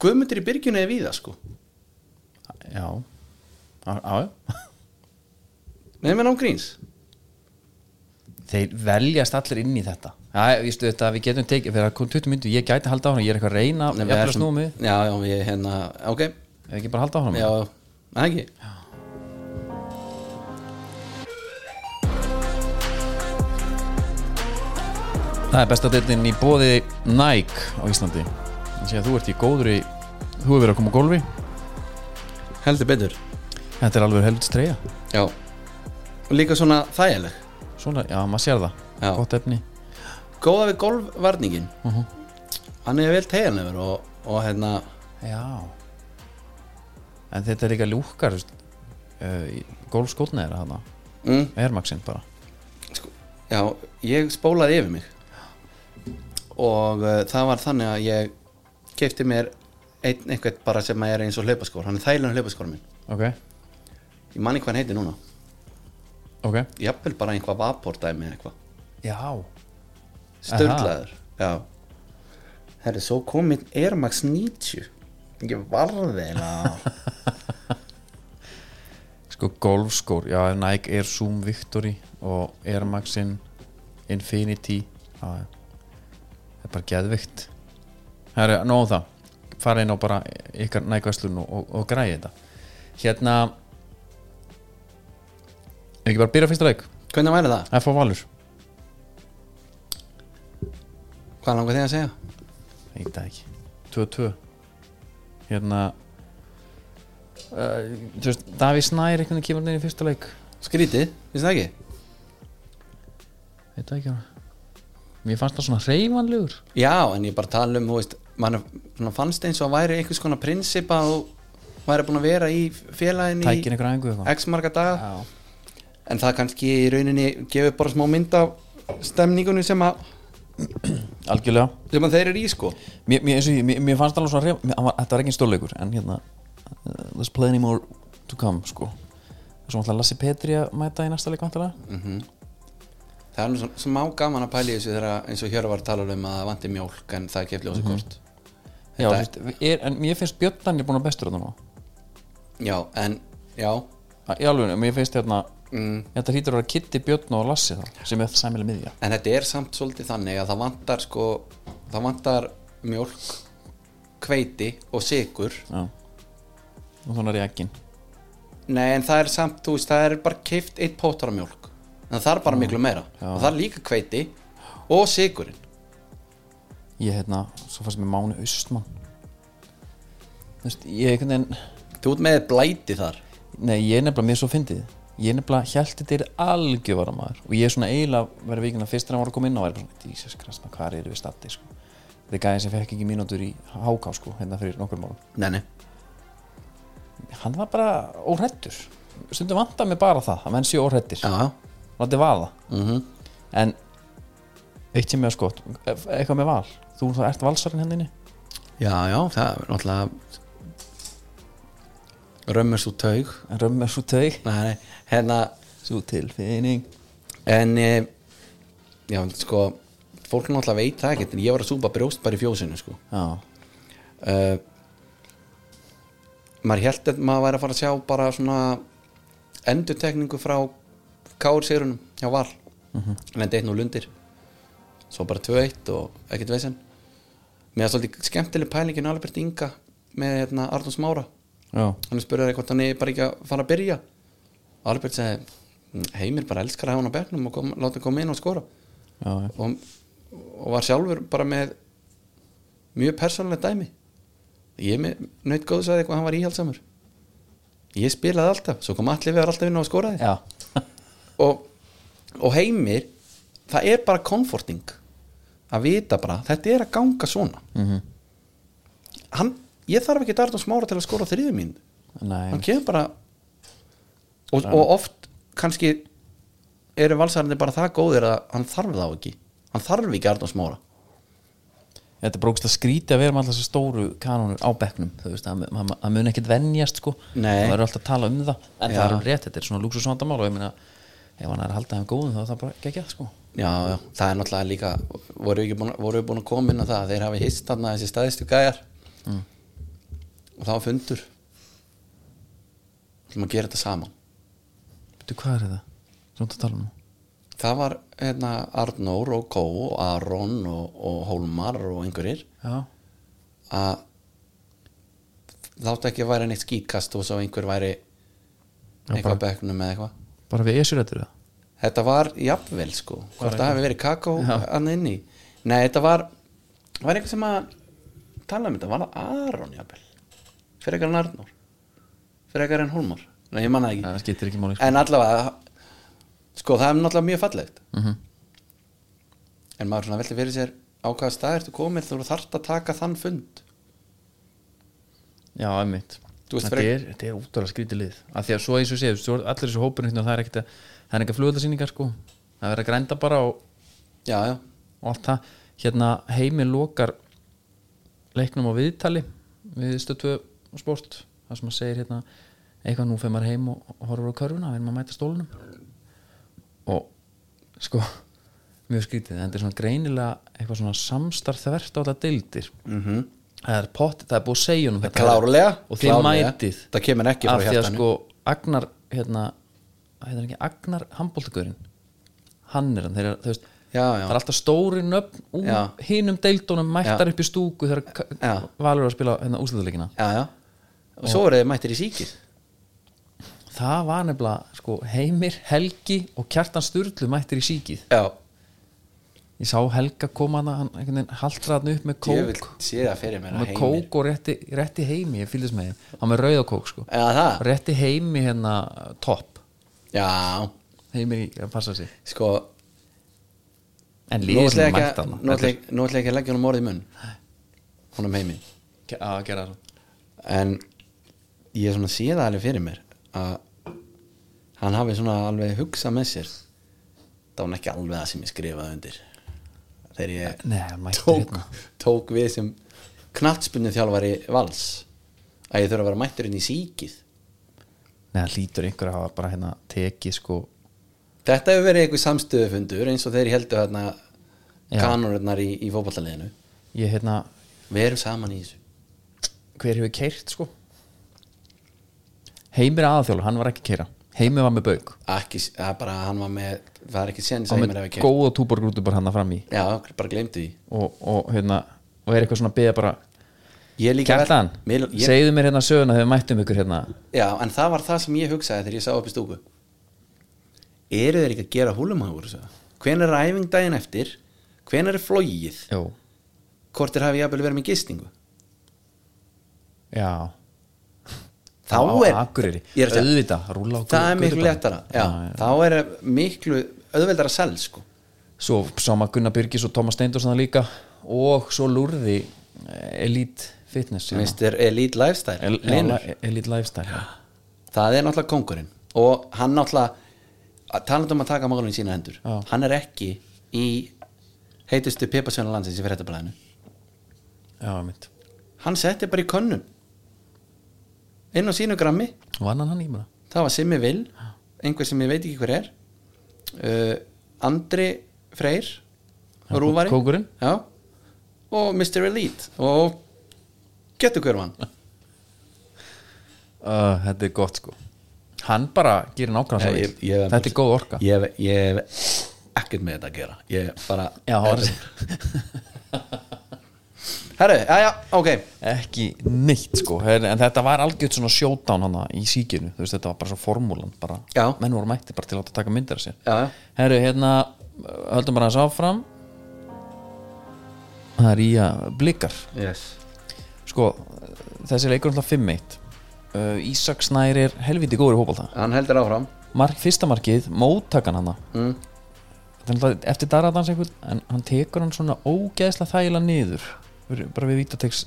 Speaker 2: guðmundur í byrgjunni er víða sko
Speaker 1: Já, á, á, já
Speaker 2: Nei, menn án gríns
Speaker 1: þeir veljast allir inn í þetta já, vístu þetta, við getum tekið fyrir að kom 20 myndu, ég gæti að halda áfram, ég er eitthvað að reyna
Speaker 2: Nei,
Speaker 1: Nei,
Speaker 2: við
Speaker 1: ég er
Speaker 2: ætlum-
Speaker 1: að snúa mig,
Speaker 2: Já, já, ég hérna, ok
Speaker 1: ef ekki bara að halda áfram
Speaker 2: Já, það ekki
Speaker 1: það er besta deildin í bóði Nike á Íslandi ég sé að þú ert í góður í þú hefur verið að koma á gólfi,
Speaker 2: Heldur betur
Speaker 1: þetta er alveg helvits treyja
Speaker 2: Já Og líka svona þægileg
Speaker 1: svona, já, maður sér það,
Speaker 2: Já.
Speaker 1: gott efni
Speaker 2: Góða við golfvarningin Hann er vel tegjanlegur og, og hérna
Speaker 1: já en þetta er líka ljúkar uh, gólfskotna er hana
Speaker 2: mm,
Speaker 1: Airmaxin bara
Speaker 2: Já, ég spólaði yfir mig Og uh, það var þannig að ég Kefti mér einn einhvern bara sem er eins og hlaupaskór Hann er þægilegur hlaupaskór minn
Speaker 1: ok,
Speaker 2: Ég manni hvað hann heitir núna
Speaker 1: ok,
Speaker 2: Jafnvel bara einhvað vapordæmi eða eitthvað
Speaker 1: já
Speaker 2: Störlaður Já Herri, svo komið Air Max 90 Ég varði eiginlega á.
Speaker 1: Sko golfskór, já Nike Air Zoom Victory og Air Maxin Infinity já, já. það er bara geðvikt það er nóg um það fara inn á bara ykkar Nike Vestlun og, og, og græði þetta hérna Ef ekki bara að byrja fyrsta leik
Speaker 2: Hvernig væri það?
Speaker 1: F.A. Valur
Speaker 2: Hvað langar þig að segja?
Speaker 1: Eitt að ekki 2-2 Hérna uh, Þú veist, Daví Snær einhvern veginn kemur inn í fyrsta leik
Speaker 2: Skrítið, finnst það ekki?
Speaker 1: Eitt að ekki Mér fannst það svona hreyfanlegur
Speaker 2: Já, en ég bara tala um, þú veist mann svona fannst eins og væri einhvers konar prinsipa og væri búin að vera í félagin í
Speaker 1: Tækin einhver aðingu eitthvað
Speaker 2: x marga daga
Speaker 1: Já.
Speaker 2: en það kannski í rauninni gefur bara smá mynd af stemningunni sem að,
Speaker 1: Algjörlega
Speaker 2: sem að þeir eru í sko
Speaker 1: Mér, mér, eins og ég- mér, mér fannst alveg svona reyf, mér, hann var, Þetta var ekki stórleikur En hérna uh, There's plenty more to come sko Svo ætla Lassi Petri að mæta í næsta leik vantilega
Speaker 2: það er nú svona smá gaman að pæla í þessu þegar að- eins og Hjörvar tala um að það vanti mjólk en það kefli ósig kort
Speaker 1: Já, þú veist, er, en mér finnst Björn Danni búin að bestur þetta nú
Speaker 2: já, en, já,
Speaker 1: Að- Í alveg, mér finnst hérna
Speaker 2: mm,
Speaker 1: Þetta hlýtur að vera Kitty, Björn og Lassi þá Sem er sæmilega miðja
Speaker 2: en þetta er samt svolítið þannig að það vantar sko það vantar mjólk hveiti og sigur
Speaker 1: Já Og þannig er ég ekkin
Speaker 2: Nei, en það er samt, þú veist, það er bara keift eitt pótar af mjólk en það er bara miklu meira og það er líka kveiti og sigurinn
Speaker 1: Ég hérna, svo fannst mér Máni Austmann Þú veist, ég einhvern veginn
Speaker 2: Þú ert með blæti þar
Speaker 1: Nei, ég er nefnilega mér svo fyndið Ég er nefnilega hjælt þetta er algjöfara maður Og ég er svona eiginlega verið vikinn að hérna fyrst þegar hann var að koma inn á væri bara svona, Jesus Christ, maður, hvar eru við statti sko. Þetta er gæði sem fekk ekki mínútur í háká sko, hérna fyrir nokkur málum
Speaker 2: Nei, nei
Speaker 1: Hann var bara óhrættur Stundum vantar mig bara það, að menn séu óhrættir
Speaker 2: Já,
Speaker 1: Látið vaða En eitt sem ég að skot, eitthvað með val Þú þá ert valsarinn hérna henninni
Speaker 2: já, já, það er náttúrulega Römmur svo taug
Speaker 1: En römmar svo teg,
Speaker 2: Nei, nei, hérna
Speaker 1: svo tilfinning
Speaker 2: En, eh, já, sko Fólk náttúrulega veit það ekkert en ég var að súpa brjóst bara í fjósinu, sko
Speaker 1: Já,
Speaker 2: uh, maður held að maður væri að fara að sjá bara svona endurtekningu frá Kár Sigrunum hjá Val mm -hmm. lendi einn og lundir svo bara 2-1 og ekkert veginn mér er svolítið skemmtileg pælingin Albert Inga með hérna Arnús Mára
Speaker 1: já,
Speaker 2: hann spurði hvort hann er bara ekki að fara að byrja Albert segi heimir bara elskar að hafa hann á bekknum og kom, láta hann koma inn og skora
Speaker 1: já, já.
Speaker 2: og, og var sjálfur bara með mjög persónlega dæmi ég er með naut góðs að eitthvað hann var íhaldsamur ég spilaði alltaf, svo kom allir við alltaf inn á að skora þig
Speaker 1: já.
Speaker 2: og, og heimir það er bara comforting að vita bara, þetta er að ganga svona
Speaker 1: Mhm.
Speaker 2: hann, ég þarf ekki Darton Smára til að skora þriðu mín
Speaker 1: Nei,
Speaker 2: hann kemur bara og, og oft kannski eru valsarandi bara það góðir að hann þarf þá ekki hann þarf ekki Arnóð Smára
Speaker 1: þetta er brókst að skríti að vera með alltaf þessi stóru kanónur á bekknum þú veist, það ma- það mun ekkit venjast sko
Speaker 2: Nei.
Speaker 1: það verður alltaf að tala um það en
Speaker 2: Já.
Speaker 1: það er alveg rétt, þetta er svona lúksusvandamál og ég meina, ef hann er að halda þeim góðum þá er það bara gekkja sko
Speaker 2: Já, já, það er náttúrulega líka voru, ekki búin, voru við búin að koma inn á það að þeir hafi hist þarna þessi staðistu gæjar Mm. og það var fundur Það maður að gera þetta saman
Speaker 1: Veitu, hvað er þetta? sem þú ert að tala um
Speaker 2: það var hérna, Arnór og Kó og Aron og, og Hólmar og einhverjir
Speaker 1: já,
Speaker 2: að þátt ekki að væri neitt skítkast og svo einhver væri eitthvað á bekknum eða eitthvað
Speaker 1: bara við esurættir það
Speaker 2: þetta var jafnvel sko hvort það hefði verið kakó hann inni nei þetta var var eitthvað sem að tala um þetta var það Aron jafnvel fyrir ekkar en Arnór fyrir ekkar en Hólmar nei ég manna ekki
Speaker 1: það skiptir ekki máli sko.
Speaker 2: en allavega sko það er náttúrulega mjög fallegt
Speaker 1: Mhm.
Speaker 2: en maður svona velti fyrir sér á hvaða stað ertu komin þú þarft að taka þann fund
Speaker 1: já, emmitt
Speaker 2: Þú veist,
Speaker 1: þetta
Speaker 2: fyrir-
Speaker 1: er, þetta er útrúlega skrítið lið af því að svo eins og séu, svo allir þessu hópurinn hérna, það er ekkert að, það er ekkert flugöldarsýningar sko það er verið að grænda bara og,
Speaker 2: já já,
Speaker 1: og allt það hérna heimi lokar leiknum á viðtali við stötu sport það sem að segir hérna eitthvað nú fyrir maður heim og og horfur á körfuna við erum að mæta stólunum og sko mjög skrítið, en þetta er svona greinilega eitthvað svona samstarf þvert á þetta deildir -hmm. það er pott, það er búið að segja honum þetta.
Speaker 2: Mhm. klárlega
Speaker 1: og þið
Speaker 2: klárlega.
Speaker 1: mætið
Speaker 2: það kemur ekki
Speaker 1: af
Speaker 2: frá
Speaker 1: því að
Speaker 2: hjartanu
Speaker 1: sko Agnar hérna, hérna ekki, Agnar handbóltagurinn hann er hann, þeir, eru- þú veist
Speaker 2: Já, já.
Speaker 1: það er alltaf stóri nöfn úr
Speaker 2: Já.
Speaker 1: hinum deildónum mættar
Speaker 2: Já.
Speaker 1: upp í stúku þegar
Speaker 2: Já.
Speaker 1: Ka- Valur er að spila hérna, úsliðuleikina
Speaker 2: já já, og svo eru þið mættir í síkir
Speaker 1: það var nefnilega sko, Heimir, Helgi og Kjartan Sturlu mættir í síkið
Speaker 2: já,
Speaker 1: ég sá Helga koma hana, hann einhvern veginn haldraðan upp með
Speaker 2: ég vil
Speaker 1: kók
Speaker 2: sé það fyrir mér að
Speaker 1: með
Speaker 2: heimir
Speaker 1: kók og rétti, rétti heimi ég fylgist með þeim, hann með rauðakók sko.
Speaker 2: já það,
Speaker 1: rétti heimi hérna topp
Speaker 2: já,
Speaker 1: heimir í að passa sig
Speaker 2: sko
Speaker 1: en
Speaker 2: nú ætla
Speaker 1: liðið
Speaker 2: ég
Speaker 1: mætt
Speaker 2: ekki að-
Speaker 1: hann
Speaker 2: nú ætla ég- nú ætla ég ekki að leggja honum orðið munn honum heiminn
Speaker 1: að gera það
Speaker 2: en ég svona sé það alveg fyrir mér að hann hafi svona alveg hugsað með sér það var ekki alveg það sem ég skrifaði undir þegar ég
Speaker 1: Nei, hann mætti
Speaker 2: tók,
Speaker 1: hérna.
Speaker 2: tók við sem knattspunni þjálfari vals að ég þurfa að vera mættur inn í síkið
Speaker 1: Nei, það lítur einhver að hafa bara hérna tekið sko
Speaker 2: þetta hefur verið einhver samstöðufundur eins og þeir heldur hérna
Speaker 1: Já.
Speaker 2: kanurnar í, í fótballaliðinu
Speaker 1: Ég hérna,
Speaker 2: við erum saman í þessu
Speaker 1: hver hefur keirt sko Heimir aðaþjólu, hann var ekki að keira Heimir var með bauk
Speaker 2: ekki, það er bara hann var með það er ekki sén
Speaker 1: og
Speaker 2: sem ég mér
Speaker 1: með
Speaker 2: hefur kert
Speaker 1: góða túborgrútu bara hann að fram í
Speaker 2: já, bara glemdi því
Speaker 1: og, og hérna, og er eitthvað svona að beða bara
Speaker 2: Ég líka-
Speaker 1: Kjartan,
Speaker 2: Mér- ég-
Speaker 1: segðu mér hérna söguna þegar við mættum ykkur hérna
Speaker 2: Já, en það var það sem ég hugsaði þegar ég sá upp í stúku Eru þeir ekki að gera húlumhagur Hven er æfing daginn eftir Hven er flogið
Speaker 1: Jú,
Speaker 2: Hvort þeir hafi jafnvel verið með gistingu
Speaker 1: já
Speaker 2: Þá
Speaker 1: Á
Speaker 2: er,
Speaker 1: Akureyri,
Speaker 2: Ég er að segja,
Speaker 1: auðvitað, rúlla á
Speaker 2: Það er
Speaker 1: götu
Speaker 2: miklu
Speaker 1: bara.
Speaker 2: léttara já,
Speaker 1: Já, já.
Speaker 2: Þá er miklu auðveldara sel sko.
Speaker 1: svo sama Gunnar Byrgis og Thomas Steindors hann líka og svo lúrði eh, Elite Fitness hérna.
Speaker 2: Mr. Elite Lifestyle
Speaker 1: El,
Speaker 2: Linur.
Speaker 1: Elite- Elite Lifestyle já.
Speaker 2: Það er náttúrulega kongurinn Og hann náttúrulega Talandi um að taka málun í sína hendur
Speaker 1: Já.
Speaker 2: Hann er ekki í heitustu pipasjónu landsins í fyrirtablaðinu
Speaker 1: Já, mitt
Speaker 2: hann setti bara í könnun inn á sínu grammi
Speaker 1: Vann hann hann í bara?
Speaker 2: það var Simmi Vil einhver sem ég veit ekki hver er uh, Andri Freyr
Speaker 1: Já,
Speaker 2: Rúvari
Speaker 1: kóngurinn.
Speaker 2: Já. og Mr. Elite og getur hver vann
Speaker 1: Uh, þetta er gott sko Hann bara gerir nákvæmlega svo vill. Þetta er góð orka
Speaker 2: ég, ég hef ekkert með þetta að gera ég bara
Speaker 1: Já, það var
Speaker 2: herru, já já, ok
Speaker 1: Ekki neitt sko Her- En þetta var algjört svona showdown hana í síkinu Þú veist, þetta var bara svo formúlan bara.
Speaker 2: Já.
Speaker 1: Menn voru mætti bara til að láta taka myndir að sér
Speaker 2: Já.
Speaker 1: Herru, hérna uh, Höldum bara þess áfram Það er í að blikar
Speaker 2: yes.
Speaker 1: Sko, uh, þessi leikur er alltaf 5-1 uh, Ísak Snær er helviti góður í hópalta
Speaker 2: hann heldur áfram
Speaker 1: mark, fyrsta markið, móttakan hann mm. eftir Daradans einhvern, en hann tekur hann svona ógeðslega þægilega niður fyrir- bara við vítategs,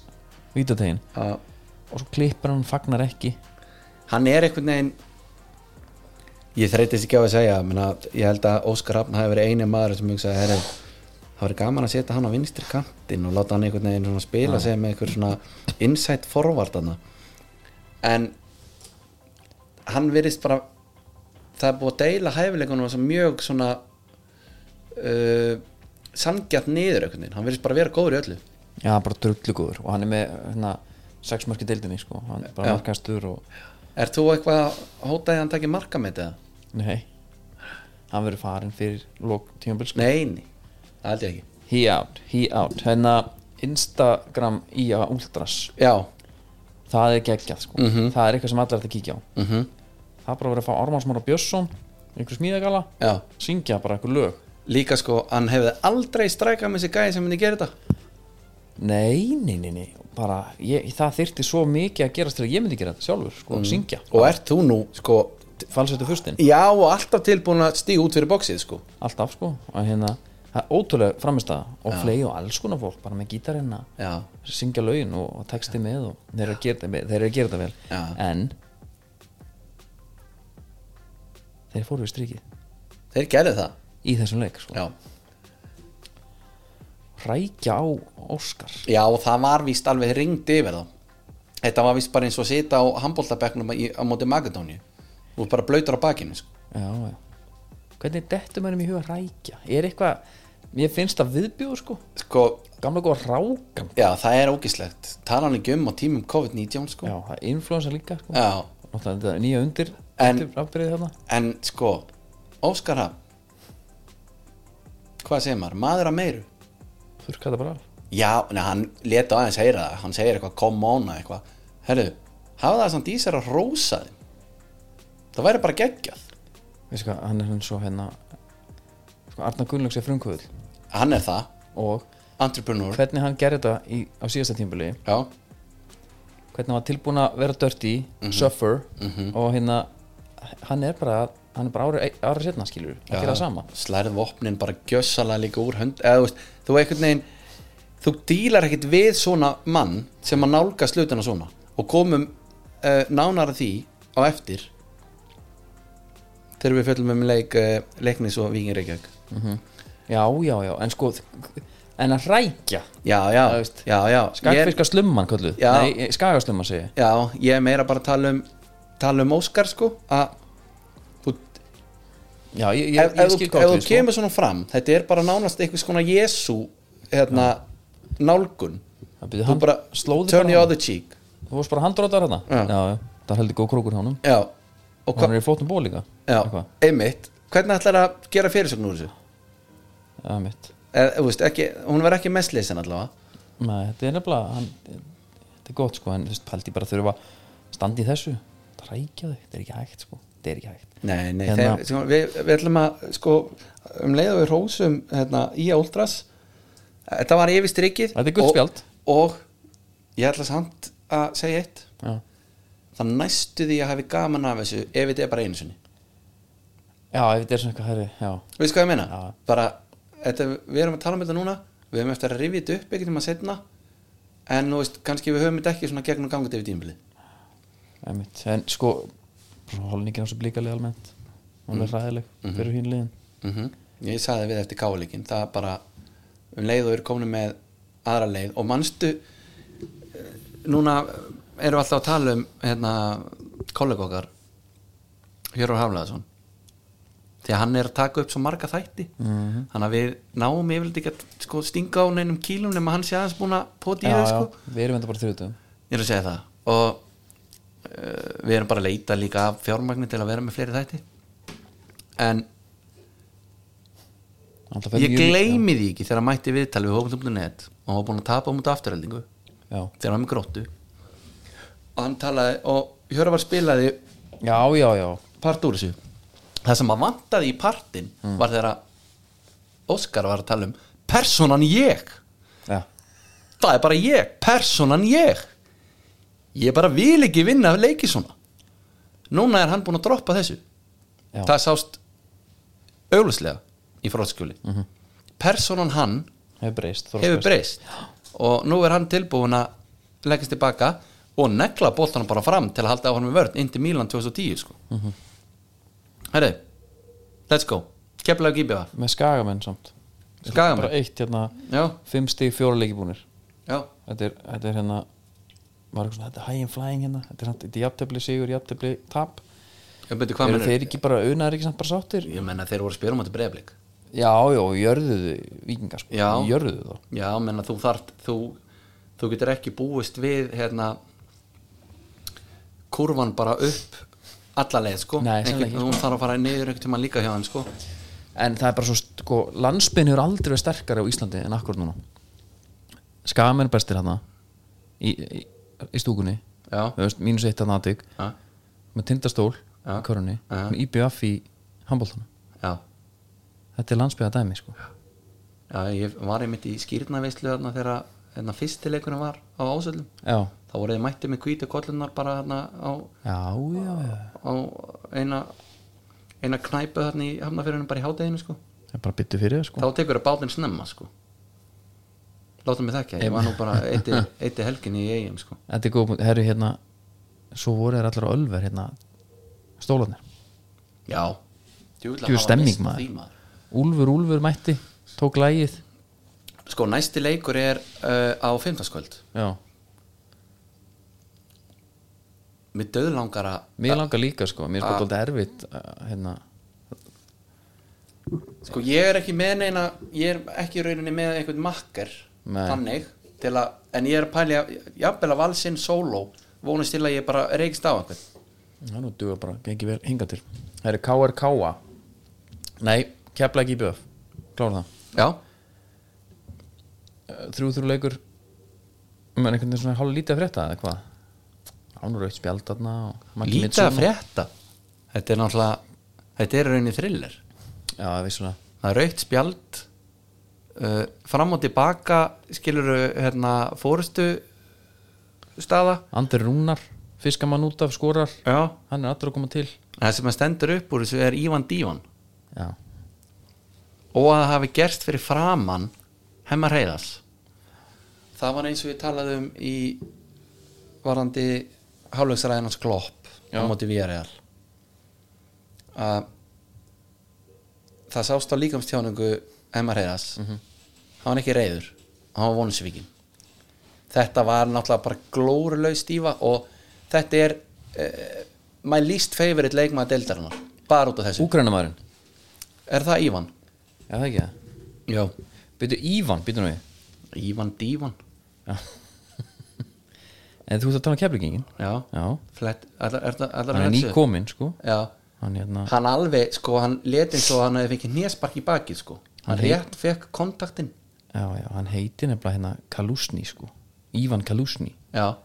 Speaker 1: vítategin
Speaker 2: Já.
Speaker 1: og svo klippar hann, fagnar ekki
Speaker 2: hann er einhvern veginn ég þreytist ekki á að segja menna, ég held að Óskar Hafn hafi verið eini maður sem hugsaði herri, það verið gaman að setja hann á vinstri kantinn og láta hann einhvern veginn svona spila sig með einhver svona insight forward hann en hann virðist bara það er búið að deila hæfileikunum og svo mjög svona uh, sangjarn niður einhvern veginn, hann virðist bara vera góður í öllu
Speaker 1: já, bara drullu góður og hann er með hérna, sex markið deildinni sko. hann er bara
Speaker 2: Já.
Speaker 1: markastur og
Speaker 2: Er þú eitthvað að hótaði að hann taki marka með þetta?
Speaker 1: nei hann verður farin fyrir lók tímabil sko.
Speaker 2: Nei, nei, það held ég ekki
Speaker 1: he out, he out hérna Instagram IA Ultras
Speaker 2: Já,
Speaker 1: það er geggjað sko
Speaker 2: Mhm.
Speaker 1: það er eitthvað sem allir ætti að kíkja á -hmm. það er bara verið að fá Ármannsmára Björnsson einhver smíðagala,
Speaker 2: já
Speaker 1: syngja bara einhver lög
Speaker 2: Líka sko, hann hefði aldrei strækað með þessi gæði sem henni gerir þetta
Speaker 1: nei, nei, nei, nei bara, ég, það þyrfti svo mikið að gerast til að ég myndi gera þetta sjálfur, sko,
Speaker 2: Mm.
Speaker 1: syngja
Speaker 2: Og ert þú nú, sko
Speaker 1: falsettu fyrstinn,
Speaker 2: Já, og alltaf tilbúin að stíga út fyrir bóksið, sko
Speaker 1: alltaf sko og hérna, það er ótrúlega framistæða og flegi og alls konar fólk, bara með gítarina
Speaker 2: Já,
Speaker 1: syngja lögin og, og texti með og þeir eru að gera, þetta með- þeir eru að gera þetta vel
Speaker 2: Já.
Speaker 1: en þeir fóru í strikið
Speaker 2: þeir gerðu það
Speaker 1: í þessum leik sko.
Speaker 2: Já,
Speaker 1: rækja á Óskar
Speaker 2: já og það var víst alveg ringd yfir þá Þetta var víst bara eins og að sita á handbóltabeknum á móti Magadóni og bara blöytur á bakinu, sko
Speaker 1: já, já. hvernig dettum erum í huga rækja er eitthvað, mér finnst það viðbjóð sko.
Speaker 2: Sko,
Speaker 1: gamla góða rákan
Speaker 2: já, það er ógislegt Talan ekki um á tímum COVID-19, sko
Speaker 1: já, það er influensa líka sko.
Speaker 2: já.
Speaker 1: náttúrulega þetta er nýja undir
Speaker 2: En-
Speaker 1: afbyrðið þarna
Speaker 2: En sko, Óskar Hafn Hvað segir maður? Maður að meiru?
Speaker 1: þurrka þetta bara af
Speaker 2: Já, neða, hann leta aðeins heyra það Hann segir eitthvað, come on eða eitthvað Herru, hafa það samt í sér að rósa þeim Það væri bara geggjað
Speaker 1: Veistu hvað, hann er hann svo hérna sko, Arna Gunnlaugs er frumkvöðl
Speaker 2: Hann er það,
Speaker 1: og
Speaker 2: entrepreneur
Speaker 1: hvernig hann gerði þetta í, á síðasta tímbili
Speaker 2: Já,
Speaker 1: hvernig hann var tilbúin að vera dirty
Speaker 2: Mhm.
Speaker 1: suffer og hérna hann er bara, hann er bara ári, ári setna skilur, að gera það sama
Speaker 2: Slærð vopnin bara gjössalega líka úr hönd eða, þú veist, Þú einhvern veginn Þú dílar ekkert við svona mann sem að nálga slutina svona og komum uh, nánar að því á eftir þegar við fjöllum um leik, uh, leiknis og Víkin Reykjavík
Speaker 1: já, já, já, en sko en að rækja,
Speaker 2: Já, já,
Speaker 1: Það veist.
Speaker 2: já, já ég,
Speaker 1: skagfiska slumman kalluð,
Speaker 2: Já.
Speaker 1: nei, skagaslumman segi ég.
Speaker 2: Já, ég er meira bara að tala um tala um Óskar sko að þú-
Speaker 1: já, ég, ég,
Speaker 2: ef
Speaker 1: ég
Speaker 2: ef þú
Speaker 1: skil
Speaker 2: ef þú
Speaker 1: gott því, sko.
Speaker 2: kemur svona fram þetta er bara nánast einhvers konar Jésu hérna, nálgun
Speaker 1: Það byrju,
Speaker 2: þú
Speaker 1: hann
Speaker 2: bara
Speaker 1: slóði
Speaker 2: turn
Speaker 1: bara
Speaker 2: the
Speaker 1: á-
Speaker 2: other cheek
Speaker 1: þú varst bara handrótar hérna
Speaker 2: Já.
Speaker 1: já, já, það heldur góð krókur hjá honum
Speaker 2: já, og
Speaker 1: hann
Speaker 2: hvað
Speaker 1: er í fótum ból líka
Speaker 2: já,
Speaker 1: Eitthvað.
Speaker 2: einmitt, hvernig ætlar að gera fyrirsögn úr þessu
Speaker 1: já, mitt
Speaker 2: Eh, þú veist, ekki, hún var ekki mest leysin allavega
Speaker 1: Nei, þetta er nefnilega hann, þetta er gott sko, en þú veist, pældi ég bara að þurfa að standa í þessu, það rækja þig þetta er ekki hægt sko, þetta er ekki hægt
Speaker 2: nei, nei,
Speaker 1: Hérna-
Speaker 2: þeir, sko, við, við ætlum að sko, um leið og við rósum hérna, í Úldras þetta var yfir strikið
Speaker 1: Þetta er gult spjald.
Speaker 2: og, og ég ætla samt að segja eitt
Speaker 1: já,
Speaker 2: það næstu því að hafi gaman af þessu ef þetta er bara einu sinni
Speaker 1: já ef þetta er svona eitthvað herri já,
Speaker 2: veist hvað ég meina?
Speaker 1: Já.
Speaker 2: bara, þetta, við erum að tala um þetta núna við höfum eftir að rifja þetta upp ekkert um að setna en þú veist, kannski við höfum þetta ekki svona gegn og gangut yfir tímabilið
Speaker 1: einmitt, en sko svo holningin á þessu blíkalið almennt hún
Speaker 2: Mm.
Speaker 1: er ræðileg
Speaker 2: Mhm.
Speaker 1: fyrir hinn liðin
Speaker 2: -hmm. Ég sagði við eftir káleikin það er bara um leið og eru komin með aðra leið og manstu eh, núna erum við alltaf að tala um hérna, kollega okkar Hjörður Hafleðarsson því að hann er að taka upp svo marga þætti
Speaker 1: Mhm.
Speaker 2: -hmm. þannig að við náum yfirleitt ekki að sko, stinga á neinum kílum nema hann sé aðeins búin að poti í
Speaker 1: já,
Speaker 2: þau
Speaker 1: já,
Speaker 2: sko.
Speaker 1: við erum enda bara þrjóðum
Speaker 2: ég er að segja það og uh, við erum bara að leita líka af fjármagni til að vera með fleiri þætti en ég gleymi því ekki þegar hann mætti í viðtal við hófum.net og hann var búin að tapa um út afturheldingu
Speaker 1: já,
Speaker 2: þegar hann var með gróttu og hann talaði og Hjörvar spilaði
Speaker 1: já, já, já,
Speaker 2: part úr þessu það sem hann vantaði í partin var þegar að Óskar var að tala um personan ég
Speaker 1: já.
Speaker 2: það er bara ég, personan ég ég bara vil ekki vinna af leiki svona núna er hann búin að droppa þessu
Speaker 1: Já.
Speaker 2: það sást auglustlega í frótskjöli personan hann
Speaker 1: hefur breyst Þóra
Speaker 2: hefur
Speaker 1: Spes.
Speaker 2: breyst og nú er hann tilbúin að leggjast tilbaka og negla boltanum bara fram til að halda áhörnum í vörð inn til Mílan 2010 sko. mm
Speaker 1: Mhm.
Speaker 2: herri let's go, keflaðu gíbjöða
Speaker 1: með skagamenn samt bara
Speaker 2: skagamenn,
Speaker 1: eitt hérna,
Speaker 2: já,
Speaker 1: fimm stig fjóra leikibúnir
Speaker 2: já
Speaker 1: þetta er, þetta er hérna var eitthvað svona, þetta er high and flying hérna þetta er, samt- þetta er jafntefli sigur, jafntefli tap
Speaker 2: ég beti hvað
Speaker 1: eru
Speaker 2: mennur
Speaker 1: þeir ekki bara unaðir ekki samt bara sáttir já,
Speaker 2: ég menna þeir voru að spila um þetta breyðblik
Speaker 1: já, jörðuðu vikingar sko,
Speaker 2: Já.
Speaker 1: jörðuðu þá
Speaker 2: já, menna þú þart þú, þú getur ekki búist við hérna kurvan bara upp alla leið sko
Speaker 1: Nei,
Speaker 2: Einhvern-
Speaker 1: sannlega ekki, sko.
Speaker 2: hún þarf að fara niður einhvern tíma líka hjá hann sko
Speaker 1: en það er bara svo sko, landsbyrn hefur aldrei verið sterkari á Íslandi en akkur núna Skam er bestir hana í, í, í stúkunni
Speaker 2: Já.
Speaker 1: Þú veist, mínus eitt að natík
Speaker 2: Já.
Speaker 1: með tindastól
Speaker 2: Já.
Speaker 1: í körunni
Speaker 2: Já.
Speaker 1: með IBF í handbóltunum
Speaker 2: já,
Speaker 1: þetta er landsbyrða dæmi sko.
Speaker 2: já, ég var einmitt í skýrnaveislu þarna þegar hérna, fyrstileikunum var á ásöldum
Speaker 1: já,
Speaker 2: þá voru þið mættið með hvítu kollunar bara hérna á,
Speaker 1: já, já, já
Speaker 2: á eina eina knæpu þarna í hafnafyrunum bara í hádeginu sko
Speaker 1: það er bara byttu fyrir þér, sko.
Speaker 2: þá tekur það bátinn snemma sko láta mig þekkja, ég var nú bara eitti, eitti helgin í eigum sko
Speaker 1: þetta er góð, herru hérna svo voru þér allar á ölver hérna stólanir,
Speaker 2: já, djúvilega
Speaker 1: djú stemming maður Úlfur, Úlfur mætti, tók lægið
Speaker 2: sko næsti leikur er uh, á fimmtaskvöld
Speaker 1: já,
Speaker 2: með döðlangara
Speaker 1: mér langar líka sko mér er
Speaker 2: Ah.
Speaker 1: sko alltaf erfitt uh, hérna,
Speaker 2: sko ég er ekki með neina ég er ekki í rauninni með einhvern makker
Speaker 1: Nei.
Speaker 2: þannig til að, en ég er að pæli að jafnvel að valsinn sóló vonast til að ég bara reykst á einhvern
Speaker 1: það er nú duga bara, gengi vel hinga til það eru KRKA nei, kepla ekki í BF klára það,
Speaker 2: já,
Speaker 1: Uh, þrjú þrjú leikur menn einhvern veginn svona hálf lítið að frétta eða hvað ánur aukt spjald þarna og Maggi
Speaker 2: lítið að
Speaker 1: Mitsuno.
Speaker 2: frétta þetta er náttúrulega, þetta er í rauninni thriller
Speaker 1: já, vissulega
Speaker 2: það er raukt spjald uh, fram og tilbaka skilur hérna fórustu staða
Speaker 1: Andri Rúnar, fiskamann út af skorar
Speaker 2: já.
Speaker 1: hann er allra að koma til
Speaker 2: það sem að stendur upp úr þessu er Ívan Dívan
Speaker 1: já,
Speaker 2: og að það hafi gerst fyrir framann hemmar reyðas það var eins og við talaðum í varandi hálflegsræðinans glopp á
Speaker 1: Já.
Speaker 2: móti VRL að það sást á líkamstjáningu hemmar reyðas hann var ekki reyður, hann var vonusvíkin þetta var náttúrulega bara glórulau stífa og þetta er uh, my least favorite leikmaða deildarinnar bara út af þessu,
Speaker 1: Úgrænamaðurinn
Speaker 2: er það Ívan?
Speaker 1: Já, það ekki það
Speaker 2: Já
Speaker 1: Byrju Ívan, byrju nú við
Speaker 2: Ívan Dívan
Speaker 1: En þú ert að tala um keflingingin
Speaker 2: Já,
Speaker 1: Já.
Speaker 2: Flett, allar, allar, allar
Speaker 1: Hann er
Speaker 2: refsu.
Speaker 1: nýkominn, sko
Speaker 2: Já,
Speaker 1: Hann hérna
Speaker 2: hann alveg, sko, hann leti eins og hann hefði fengið néspark í bakið, sko Hann
Speaker 1: Hann heit-
Speaker 2: rétt fekk kontaktinn
Speaker 1: Já, já, hann heiti nefnilega hérna Kalusni, sko Ívan Kalusni
Speaker 2: Já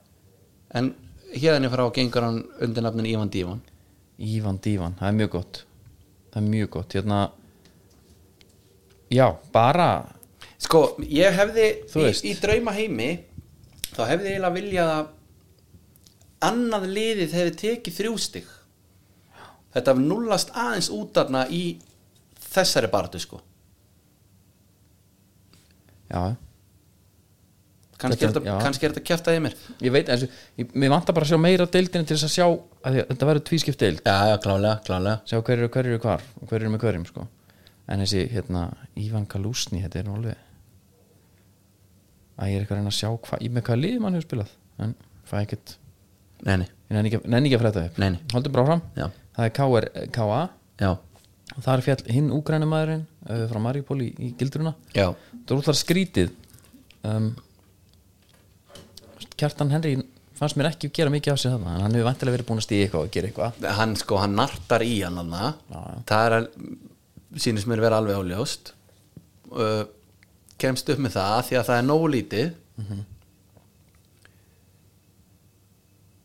Speaker 2: En hérðinni frá gengur hann undir nafnin Ívan Dívan
Speaker 1: Ívan Dívan, það er mjög gott Það er mjög gott, hérna Já, bara
Speaker 2: Sko, ég hefði
Speaker 1: Þú
Speaker 2: í,
Speaker 1: veist.
Speaker 2: í drauma heimi þá hefði ég eiginlega viljað að annað liðið hefði tekið þrjústig Þetta hafði nullast aðeins út þarna í þessari barðu, sko
Speaker 1: Já,
Speaker 2: Kannski er
Speaker 1: Þetta-
Speaker 2: þetta
Speaker 1: já.
Speaker 2: kannski er þetta kjaftaði mér
Speaker 1: ég veit eins og Mér vantar bara að sjá meira af deildinu til þess að sjá að því, að Þetta verður tvískipt deild
Speaker 2: Já, já, klálega, klálega
Speaker 1: Sjá hverjir eru hverjir eru hvar og Hverjir eru með hverjum, sko En þessi, hérna, Ívan Kalusni, þetta er nú alveg Æ, ég er eitthvað að reyna að sjá hva, í með hvaða liðum hann hefur spilað En fæ ekkert
Speaker 2: Nei, nei,
Speaker 1: Ég nenni ekki, nenni ekki að fræta upp
Speaker 2: Nei, nei.
Speaker 1: Haldum bara fram
Speaker 2: Já.
Speaker 1: Það er KR, KA
Speaker 2: já,
Speaker 1: og Það er fjall hinn úgrænumæðurinn uh, frá Maripól í, í gildruna
Speaker 2: já
Speaker 1: Það er útlar skrítið um, Kjartan Henry fannst mér ekki gera mikið af sér þarna en hann hefur vantilega verið búin að stíða eitthvað og gera eitthvað
Speaker 2: Hann sko, hann nartar í hann hana. Það er að sýnist mér vera alveg áljóst uh, Kemst upp með það Því að það er nógu lítið Mhm.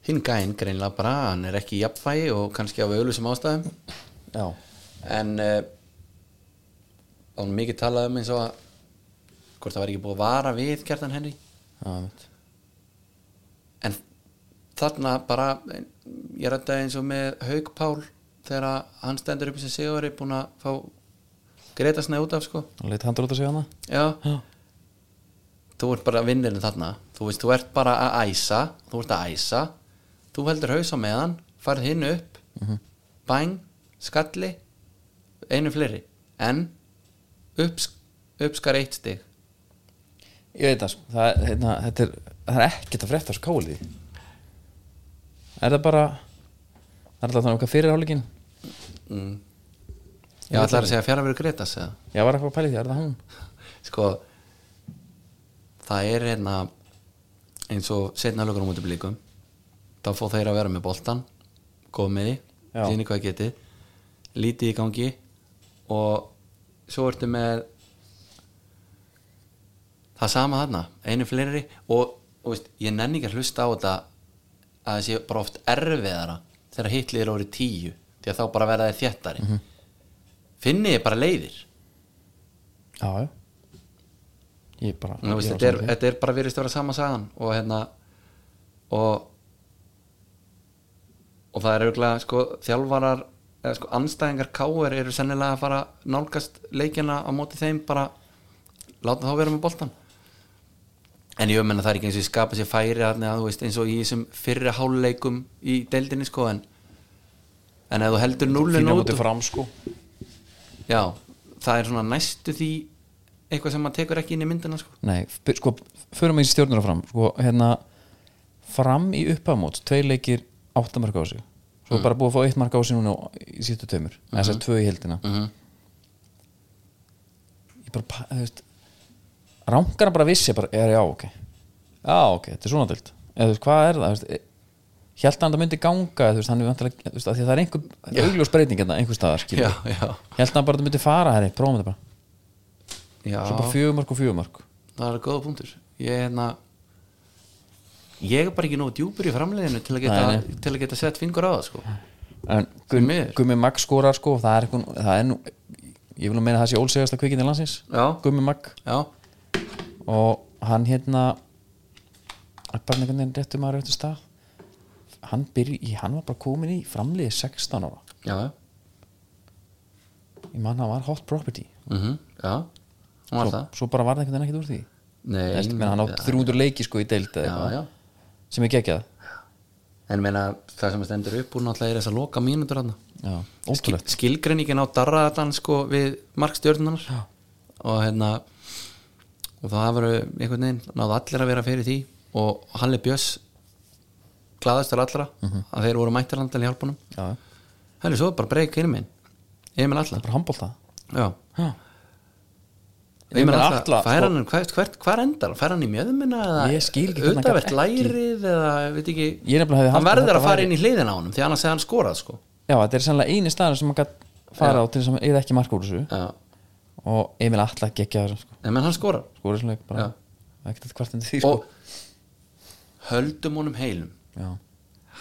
Speaker 2: Hinn gæinn greinlega bara Hann er ekki í jafnfægi og kannski af auðlúsum ástæðum
Speaker 1: Já,
Speaker 2: En uh, Án mikið talað um eins og að Hvort það var ekki búið að vara við Kjartan Henry
Speaker 1: já, einmitt.
Speaker 2: en þarna bara ég rætta eins og með Haug Pál þegar að hann stendur upp sem sigurveri búin að fá greita snæ út af sko
Speaker 1: hann leitt handur út að segja hana
Speaker 2: já,
Speaker 1: Já.
Speaker 2: þú ert bara vinnirinn þarna þú veist, þú ert bara að æsa þú ert að æsa, þú heldur haus á meðan farð hinn upp bæn, skalli einu fleiri, en upps, uppskar eitt stig
Speaker 1: Ég veit það, sko. það, er, hérna, þetta er, það er ekkert að frétta þessu káli Er það bara Það er alltaf þannig okkar fyrir áleikin
Speaker 2: ég ætlar að segja fjara verið greita segja
Speaker 1: Ég var eitthvað að pæli því, er það hún?
Speaker 2: sko það er hérna eins og setna lögur á múti blíkum þá fóð þeir að vera með boltan komið í,
Speaker 1: Já.
Speaker 2: síni hvað getið lítið í gangi og svo ertu með það sama þarna einu fleiri og, og veist, ég nenni ekki að hlusta á þetta að það sé bara oft erfiðara þegar hitlið er orðið tíu því að þá bara verða þeir þéttari mm finni ég bara leiðir
Speaker 1: já, já ég bara
Speaker 2: Nú, veist,
Speaker 1: ég á
Speaker 2: þetta, er,
Speaker 1: sama leið.
Speaker 2: þetta er bara virðist að vera sama sagan og hérna og og það er auðvitað sko þjálfarar eða sko anstæðingar káir eru sennilega að fara að nálgast leikina á móti þeim bara láta þá vera með boltan en ég meina það er ekki eins og ég skapa sér færi þarna, þú veist, eins og í þessum fyrri háluleikum í deildinni sko en, en ef þú heldur núlun
Speaker 1: fína
Speaker 2: út
Speaker 1: móti
Speaker 2: og-
Speaker 1: fram sko
Speaker 2: já, það er svona næstu því eitthvað sem maður tekur ekki inn í myndina sko
Speaker 1: Nei, f- sko, förum við í stjórnuna fram sko, hérna, fram í uppamót tvei leikir áttamarka á sig
Speaker 2: Mhm.
Speaker 1: svo bara búið að fá eitt marka á sig núna í síðustu tveimur, mm -hmm. þess að tvö í heldina
Speaker 2: Mhm.
Speaker 1: ég bara, pa- þú veist rangar bara vissi, bara, er já, ok já, ok, þetta er svona dild eða þú veist, hvað er það, þú veist e- hélt hann að það myndi ganga, þú veist, hann er vantilega þú veist, af því að það er einhver, augljós breyting hérna, einhver staðar, skilur,
Speaker 2: já, já
Speaker 1: hélt hann bara að það myndi fara, herri, prófum þetta bara,
Speaker 2: Já,
Speaker 1: svo bara fjögumörk og fjögumörk
Speaker 2: það er góða punktur Ég er hérna Ég er bara ekki nógu djúpur í framleiðinu til að geta,
Speaker 1: Nei,
Speaker 2: til að geta sett fingur á það sko.
Speaker 1: en
Speaker 2: Því
Speaker 1: Gummi,
Speaker 2: miður.
Speaker 1: Gummi Magg skorar sko það er, einhvern, það er nú ég vil að meina að það sé ólsegasta kvikindi landsins
Speaker 2: Já,
Speaker 1: Gummi Magg
Speaker 2: já,
Speaker 1: og hann hérna hann er bara einhvern veginn réttum maður réttum stað hann, byrj, í- hann var bara komin í framliði 16 ára
Speaker 2: já
Speaker 1: ég man hann var hot property
Speaker 2: mm Já, hún var
Speaker 1: svo,
Speaker 2: það
Speaker 1: svo bara var það einhvern veginn ekkert úr því
Speaker 2: Nei,
Speaker 1: Nei, menn, hann á
Speaker 2: já,
Speaker 1: 300 leiki sko í deild eða
Speaker 2: já,
Speaker 1: eitthvað,
Speaker 2: já.
Speaker 1: sem er geggjað
Speaker 2: En meina, það sem stendur upp úr náttúrulega er þess að loka mínútur hann
Speaker 1: já, ótrúlegt
Speaker 2: Skilgreiningin á darraðan sko við markstjörnunar já. og hérna og það voru einhvern veginn náðu allir að vera fyrir því og Halli Björs glaðastur allra
Speaker 1: Mhm.
Speaker 2: að þeir voru mættirlandal í hjálpunum
Speaker 1: já, já.
Speaker 2: Hæli, svo er bara breyk hinum minn Emil Atla
Speaker 1: bara handbólta
Speaker 2: Já
Speaker 1: já.
Speaker 2: Emil
Speaker 1: Emil
Speaker 2: Atla,
Speaker 1: Atla,
Speaker 2: fær
Speaker 1: sko-
Speaker 2: hann, hvert, hvert, hver endar? Fær hann í mjöðumina eða
Speaker 1: Ég skil ekki hvernig hann
Speaker 2: auðvitað
Speaker 1: gat ekki-
Speaker 2: lærið eða, veit ekki
Speaker 1: Ég nefnilega hefði
Speaker 2: Hann
Speaker 1: haldið að
Speaker 2: verður að
Speaker 1: þetta
Speaker 2: fara
Speaker 1: væri-
Speaker 2: inn í hliðina á honum því annars hefði hann skorað sko
Speaker 1: já, þetta er sannlega eini staðar sem hann gætt fara á til þess að hann eða ekki marka úr þessu
Speaker 2: Já
Speaker 1: og Emil Atla geggjaður sko,
Speaker 2: En menn hann skorar
Speaker 1: skóra svona bara
Speaker 2: Já.
Speaker 1: ekkert eitthvað kvartandi því sko
Speaker 2: Og höldum honum heilum
Speaker 1: já,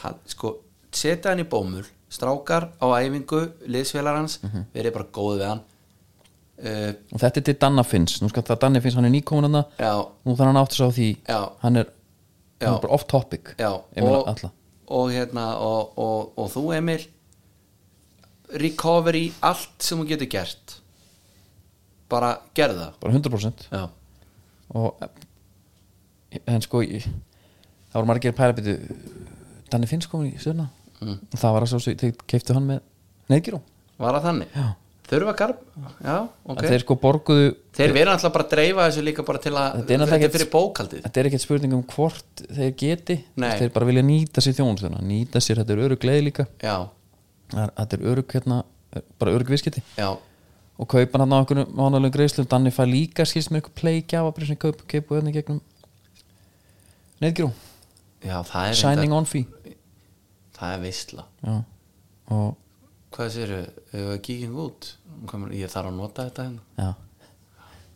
Speaker 2: hann, sko, setja hann í bómul strákar á æfingu liðsfélagar hans,
Speaker 1: Mhm.
Speaker 2: verið bara góð við hann uh,
Speaker 1: og þetta er til Danna Finns nú skal það Danni Finns, hann er nýkomin hann
Speaker 2: Já.
Speaker 1: nú þarf hann átt þess á því
Speaker 2: Já.
Speaker 1: hann er,
Speaker 2: Já.
Speaker 1: hann er bara off topic
Speaker 2: já,
Speaker 1: Emil
Speaker 2: og,
Speaker 1: Atla
Speaker 2: og hérna og, og, og þú Emil recovery allt sem þú getur gert bara gerð það
Speaker 1: bara 100%
Speaker 2: já,
Speaker 1: og en sko ég, það voru margir pælabítu Danni Finns komin í stjórna
Speaker 2: Mm.
Speaker 1: og það var að svo þeir keiftu hann með neðgjurú
Speaker 2: var það þannig
Speaker 1: Já.
Speaker 2: þurfa garb, já, ok
Speaker 1: okay. þeir sko borguðu
Speaker 2: þeir verða alltaf bara að dreifa þessu líka bara til að
Speaker 1: Þetta er náttúrulega ekkert-
Speaker 2: fyrir bókaldið
Speaker 1: þetta er ekkert spurning um hvort þeir geti
Speaker 2: Nei.
Speaker 1: þeir bara vilja nýta sér þjónustuna nýta sér, þetta er örug leið líka
Speaker 2: já,
Speaker 1: Það er- þetta er örug hérna, bara örug viðskipti
Speaker 2: já,
Speaker 1: og kaupa hann á einhvern mánulegum greiðslum Danni fær líka skilst með einhver pleikja og bara sem kaup, kaupu hérna í gegnum neðgjurú,
Speaker 2: já það er
Speaker 1: signing on fee
Speaker 2: það er veistla
Speaker 1: já. og
Speaker 2: hvað séru, hefur við kíkjum út Komur, ég þarf að nota þetta hérna
Speaker 1: já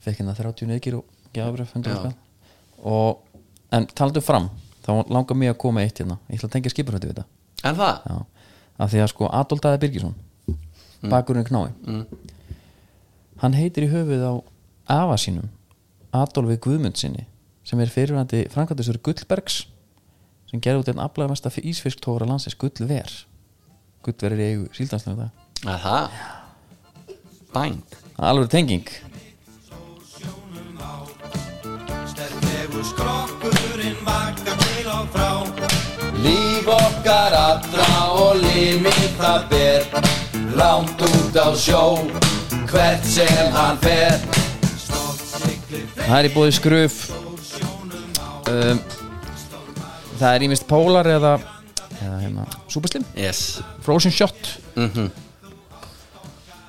Speaker 1: fekk hérna 30 neðgjurú gjafabrif
Speaker 2: Já.
Speaker 1: og en talandu um fram þá langar mér að koma með eitt hérna ég ætla að tengja skipurhættu við þetta
Speaker 2: en það,
Speaker 1: Já, af því að sko Adolf Daði Birgisson bakurinn knái hann heitir í höfuð á afa sínum Adolfi Guðmundsinni sem er fyrirvændi framkvæmtistur Gullbergs sem gerði út einn aflaða mesta ísfisktóra landsins Gullver Gullver er í eigu síldanslega dag
Speaker 2: en það bænd
Speaker 1: alveg tenging
Speaker 7: Sterlegu skrokkurinn vakar til og frá
Speaker 2: Líf okkar allra og limið það ber Langt út á sjó Hvert sem hann fer
Speaker 1: það er í bóði skröf um, það er ímist Pólar eða, eða hérna, Súperslim
Speaker 2: Yes
Speaker 1: Frozen Shot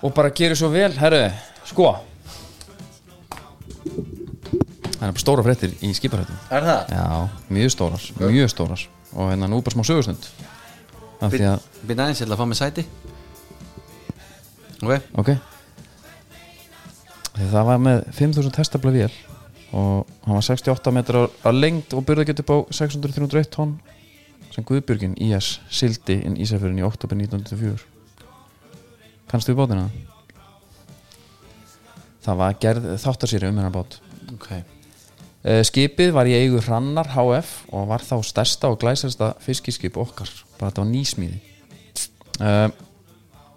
Speaker 1: og bara gerir svo vel herru, sko það er bara stóra fréttir í skiparhættum
Speaker 2: Er það?
Speaker 1: já, mjög stórar, mjög stórar og hérna nú bara smá sögustund af því að,
Speaker 2: Býta aðeins, ég ætla að fá mig sæti Ok
Speaker 1: ok Þegar það var með 5000 testabla vél og hann var 68 metrar á lengd og byrða upp á 600-301 tonn sem Guðbjörgin IS sildi inn Ísafjörðin í oktober 1904 Kannstu við bátina? Það var gerð þáttasýri um hennar bát
Speaker 2: ok
Speaker 1: Eh, Skipið var í eigu Hrannar HF og var þá stærsta og glæsasta fiskiskip okkar, bara þetta var nýsmíði uh,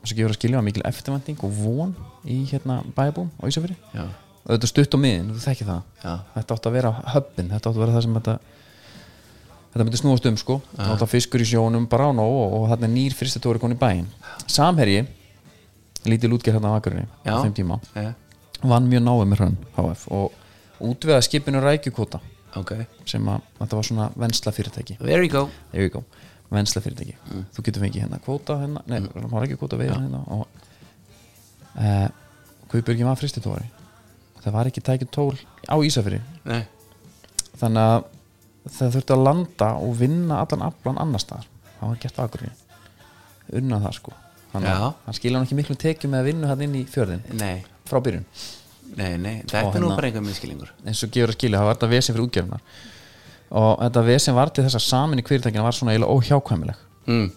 Speaker 1: sem gefur að skilja var mikil eftirvending og von í hérna bæjabúum á Ísafyrri
Speaker 2: já,
Speaker 1: þetta stutt á miðin, þú þekki það
Speaker 2: já,
Speaker 1: þetta átti að vera höppin, þetta átti að vera það sem þetta þetta myndi snúast um sko ja. átti að fiskur í sjónum bara á nóg og, og þarna er nýr fyrsti tóri koni í bæin Samherji, lítil útgerð hérna á Akureyri
Speaker 2: já.
Speaker 1: á þeim tíma,
Speaker 2: já,
Speaker 1: vann mjög náið með hrönn HF og útveða skipinu rækjukvota
Speaker 2: ok
Speaker 1: sem að þetta var svona vennsla fyrirtæki
Speaker 2: there you go
Speaker 1: there you go, vennsla fyrirtæki
Speaker 2: Mm.
Speaker 1: þú getur fengið hérna kvóta hérna nei, mm. hann var ekki kvóta veiða hérna og uh, Guðbjörgi var fristitóri það var ekki tækið tól á Ísafyrir
Speaker 2: Nei.
Speaker 1: þannig að það þurfti að landa og vinna allan aflan annar staðar það var gert aðgurinn unna það sko þannig að
Speaker 2: Já.
Speaker 1: hann skilja hann ekki miklu tekjum með að vinna hann inn í fjörðin
Speaker 2: nei,
Speaker 1: frá byrjun
Speaker 2: nei, nei þetta
Speaker 1: Og
Speaker 2: er nú
Speaker 1: hérna-
Speaker 2: bara einhver miskilingur
Speaker 1: eins og gefur að skilja, það var þetta vesen fyrir útgefnar og þetta vesen var til þess að samin í kvirtækina var svona eiginlega óhjákvæmileg
Speaker 2: mm.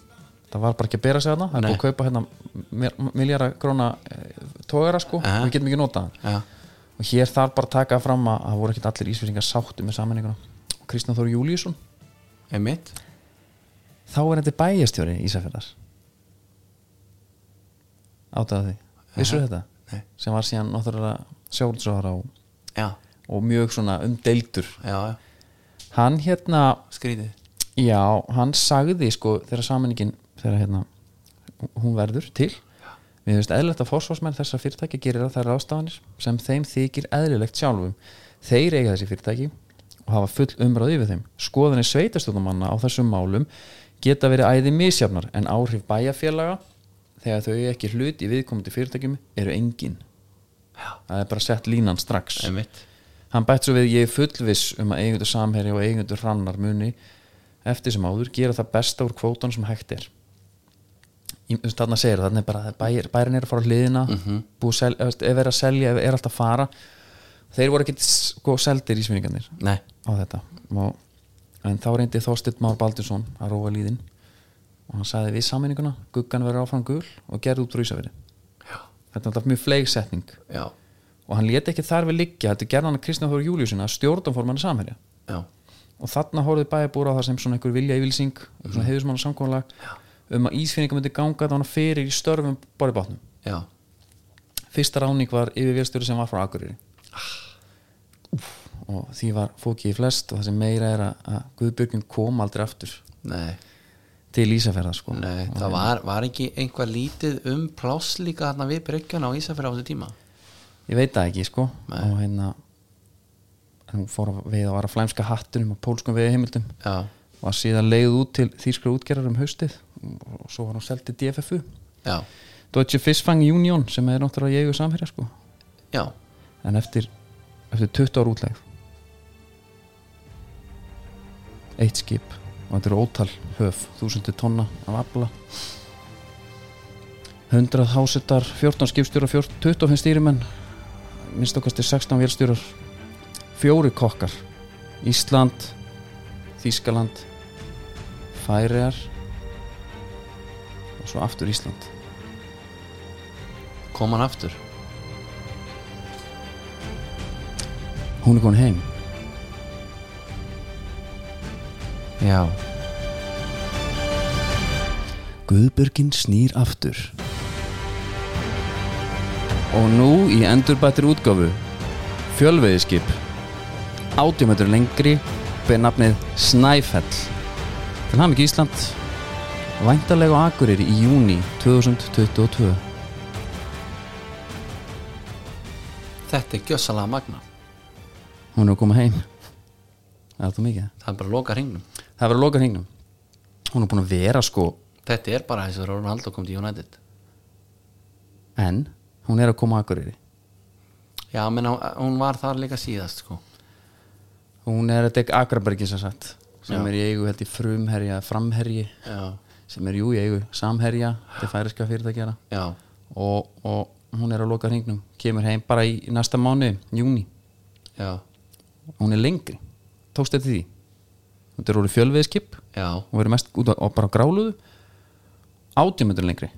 Speaker 1: það var bara ekki að bera sig þarna það er
Speaker 2: Nei.
Speaker 1: búið að kaupa hérna miljara gróna tógara sko
Speaker 2: Aha.
Speaker 1: og við getum ekki notað hann
Speaker 2: já,
Speaker 1: og hér þarf bara að taka fram að það voru ekki allir ísfyrsingar sáttu með samininguna og Kristján Þóri Júlíusson
Speaker 2: einmitt
Speaker 1: þá er þetta bæjastjóri Ísafjörðar áttaði því, vissur þetta?
Speaker 2: Nei.
Speaker 1: sem var síðan náttúrulega sjálfsöðara og,
Speaker 2: já,
Speaker 1: og mjög svona umdeildur
Speaker 2: já, já,
Speaker 1: hann hérna
Speaker 2: skrítið
Speaker 1: Já, hann sagði sko þegar samaningin þegar hérna hún verður til Mér finnst eðlilegt að forsvarsmenn þessar fyrirtæki gerir að þær ráðstafanir sem þeim þykir eðlilegt sjálfum. Þeir eiga þessi fyrirtæki og hafa full umræði yfir þeim. Skoðanir sveitastjóðumanna á þessum málum geta verið æði misjafnar en áhrif bæjarfélaga þegar þau eiga ekki hlut í viðkomandi fyrirtækjum eru engin. Það er bara sett línan strax.
Speaker 2: einmitt
Speaker 1: Hann bætt svo við ég er fullviss um að eigendur samherja og eigendur hrannar muni eftir sem áður gera það besta úr kvótan sem hægt er. Í- þú veist, Þarna segir það, þannig bara að bæir, bærin er að fara á hliðina, mm -hmm. sel, eða, þú veist, ef er að selja, ef er alltaf að fara þeir voru ekki sko, seldir í svinningarnir
Speaker 2: nei,
Speaker 1: á þetta og, en þá reyndi Þorsteinn Már Baldursson að róa líðin og hann sagði við samininguna, guggan verður áfram gul og gerði út frá Ísafirði þetta er alltaf mjög fleigsetning
Speaker 2: já,
Speaker 1: og hann lét ekki þar við liggja þetta gerði hann að Kristján Þór Júliusson að stjórnformann samherja
Speaker 2: já,
Speaker 1: og þarna horfði bæjarbúra á það sem svona einhver vilja yfilsing svona mm. heiðismann um að ísfinninga myndi ganga þannig fyrir í störfum bara í bátnum
Speaker 2: já
Speaker 1: fyrsta ráning var yfirvélstjóri sem var frá Akureyri
Speaker 2: Ah.
Speaker 1: Úff, og því var fókið í flest og það sem meira er að, að Guðbjörgin kom aldrei aftur
Speaker 2: nei,
Speaker 1: til Ísafjörða sko.
Speaker 2: nei
Speaker 1: Og
Speaker 2: það var, var ekki einhvað lítið um pláss líka þarna við bryggjana á Ísafjörð á þessu tíma
Speaker 1: ég veit það ekki sko
Speaker 2: Nei.
Speaker 1: og hérna en hún fór að veiða var að flæmska hattunum og pólskum veiða heimildum
Speaker 2: já,
Speaker 1: var síðan leið út til þýskra útgerðar um haustið og svo var hann seld til DFFU
Speaker 2: já,
Speaker 1: Deutsche Fischfang Union sem er náttúrulega ég og samherja sko
Speaker 2: já
Speaker 1: en eftir, eftir 20 ára útlegð eitt skip og þetta eru ótal höf þúsundir tonna af afla 100 hásetar 14 skipstjóra, 14 25 stýrimenn minnst okkast er 16 vélstjórar fjóri kokkar Ísland, Þískaland Færiar og svo aftur Ísland
Speaker 2: kom hann aftur
Speaker 1: hún er komin heim
Speaker 2: já,
Speaker 1: Guðbjörgin snýr aftur og nú í endurbættir útgáfu fjölveiðiskip átjómetur lengri ber nafnið Snæfell til ham ekki Ísland væntalega á Akureyri í júni 2022
Speaker 2: þetta er gjössalega magna
Speaker 1: hún er að koma heim það er það mikið
Speaker 2: það er bara að loka hringnum
Speaker 1: það er verið að loka hringnum hún er búin að vera sko
Speaker 2: þetta er bara eins og Ronaldo kom til United
Speaker 1: en hún er að koma á Akureyri
Speaker 2: já, menn hún var þar líka síðast sko.
Speaker 1: hún er að dekka Akrabergi sem sagt sem er í eigu held í frumherja framherji
Speaker 2: já,
Speaker 1: sem er jú í eigu samherja til færiska fyrirtækjara
Speaker 2: já,
Speaker 1: og, og hún er að loka hringnum kemur heim bara í, í næsta mánu júni,
Speaker 2: já,
Speaker 1: hún er lengri tókst eftir því þetta er orðið fjölveiðskip
Speaker 2: já
Speaker 1: hún verið mest út á, á bara gráluðu átjumutur lengri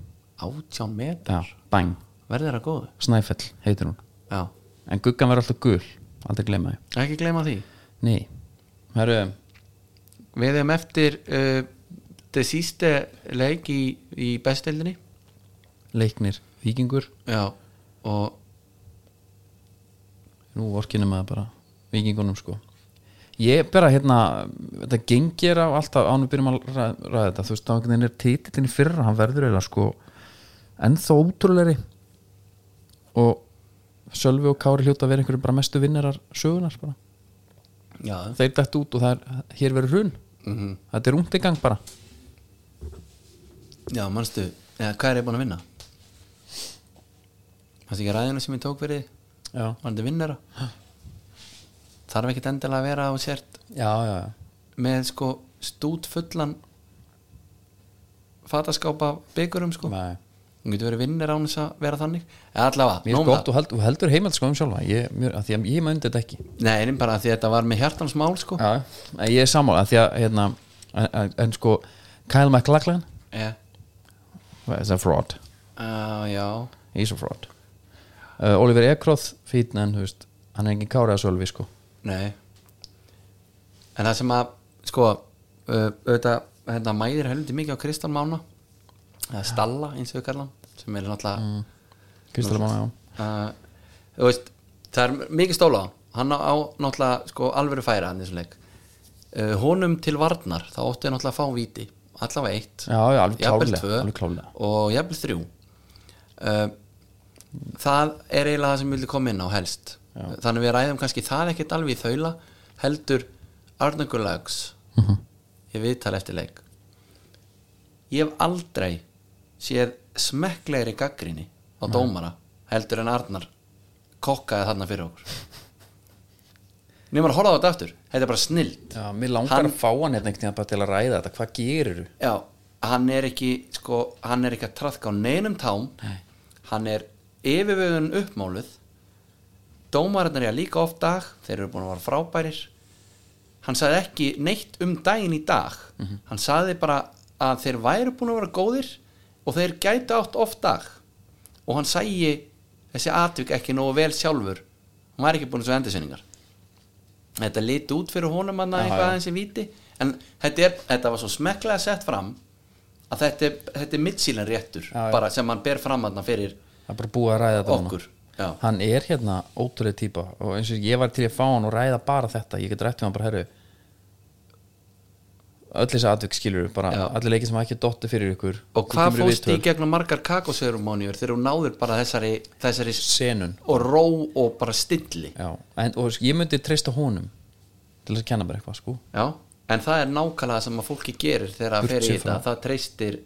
Speaker 2: átján metr,
Speaker 1: já, bang,
Speaker 2: verður það góð
Speaker 1: Snæfell heitir hún
Speaker 2: já,
Speaker 1: en guggan verður alltaf gul, aldrei gleyma því
Speaker 2: ekki gleyma því
Speaker 1: nei, herru
Speaker 2: við erum eftir uh, það síste leik í, í bestildinni
Speaker 1: leiknir vikingur
Speaker 2: já, og
Speaker 1: nú orkinum að bara vikingunum sko ég bara hérna, þetta gengir á alltaf ánum byrjum að ræða, ræða þetta þú veist, þá einhvern veginn er titillin í fyrra hann verður eða sko ennþá ótrúleiri og Sölvi og Kári hljóta að vera einhverjum bara mestu vinnarar sögunar bara.
Speaker 2: já,
Speaker 1: þeir dætt út og það er, hér verður hrun -hmm. þetta er ungt í gang bara
Speaker 2: já manstu eða, hvað er ég búin að vinna manstu ekki ræðina sem ég tók fyrir þig?
Speaker 1: já,
Speaker 2: var þetta vinnara þarf ekkit endilega að vera á sért
Speaker 1: já, já, já.
Speaker 2: með sko stút fullan fataskápa byggurum sko
Speaker 1: Nei.
Speaker 2: hún getur verið vinnir án þess að vera þannig eða allavega,
Speaker 1: mér er
Speaker 2: nóg um
Speaker 1: gott og held, og heldur heimald sko um sjálfa ég, mér, að því að ég maður undir þetta ekki
Speaker 2: það nei, en bara af því að þetta var með hjartans mál sko
Speaker 1: Já, en ég er sammála af því að hérna, en, en- en sko Kyle MacLachlan
Speaker 2: já,
Speaker 1: is a fraud,
Speaker 2: uh, já.
Speaker 1: he's a fraud uh, Oliver Ekroth, fín en þú veist, hann er engin kárið að sölvi sko
Speaker 2: nei en það sem að sko, uh, auðvitað hérna, mæðir heldur mikið á Kristján Mána eða Stalla eins og við kallan sem er náttúrulega
Speaker 1: Mm. Kristján Mána, já
Speaker 2: uh, þú veist, það er mikið stóla á hann. hann á, á náttúrulega sko, alvöru færa hann í þessum leik uh, honum til varnar, þá óttu ég náttúrulega að fá víti allavega eitt
Speaker 1: Já, já, alveg
Speaker 2: jafnvel
Speaker 1: klárlega,
Speaker 2: tvö
Speaker 1: alveg klárlega.
Speaker 2: og jafnvel þrjú uh, það er eiginlega það sem við viljum koma inn á helst þannig við ræðum kannski það ekkert alveg í þaula heldur Arnur Gulags
Speaker 1: Mhm.
Speaker 2: ég viðtal eftir leik ég hef aldrei séð smekklegri gaggrinni á dómara heldur en Arnar kokkaði þarna fyrir okkur nema að horfa á þetta aftur þetta er bara snilt
Speaker 1: Já, mér langar
Speaker 2: Hann-
Speaker 1: að fá hann hérna einhvern veginn bara til að ræða þetta, hvað gerir þú?
Speaker 2: Já, hann er ekki sko, hann er ekki að trafka á neinum tám Nei. hann er yfirvögun uppmáluð dómararnir er líka oft dag þeir eru búin að vera frábærir hann sagði ekki neitt um daginn í dag
Speaker 1: Mhm.
Speaker 2: hann sagði bara að þeir væru búin að vera góðir og þeir gætu átt oft dag og hann sagði þessi atvik ekki nógu vel sjálfur hann var ekki búin að svo endursynningar þetta liti út fyrir honum hann
Speaker 1: Já,
Speaker 2: eitthvað
Speaker 1: já.
Speaker 2: aðeins í viti en þetta, er, þetta var svo smekklega sett fram að þetta, er- þetta er mittsílan réttur
Speaker 1: Já, já.
Speaker 2: bara sem hann ber fram hann fyrir
Speaker 1: Það er bara búið að ræða þetta núna.
Speaker 2: okkur já.
Speaker 1: Hann er hérna ótrúlega típa og eins og ég var til að fá hann og ræða bara þetta ég get rætt við hann bara, herru öll þessi atvik skilur bara,
Speaker 2: Já.
Speaker 1: allir leikir sem hafa ekki dotti fyrir ykkur þú
Speaker 2: og hvað
Speaker 1: kemur í
Speaker 2: fóst í
Speaker 1: viðtöl.
Speaker 2: gegnum margar kakoserumóniur þegar hún náður bara þessari, þessari
Speaker 1: Senun.
Speaker 2: og ró og bara stilli
Speaker 1: Já, en, og ég myndi treysta honum til þess að kenna mér eitthvað sko
Speaker 2: já. en það er nákvæmlega sem að fólki gerir þegar það
Speaker 1: Burt
Speaker 2: fer í
Speaker 1: séð
Speaker 2: þetta
Speaker 1: frá.
Speaker 2: það treystir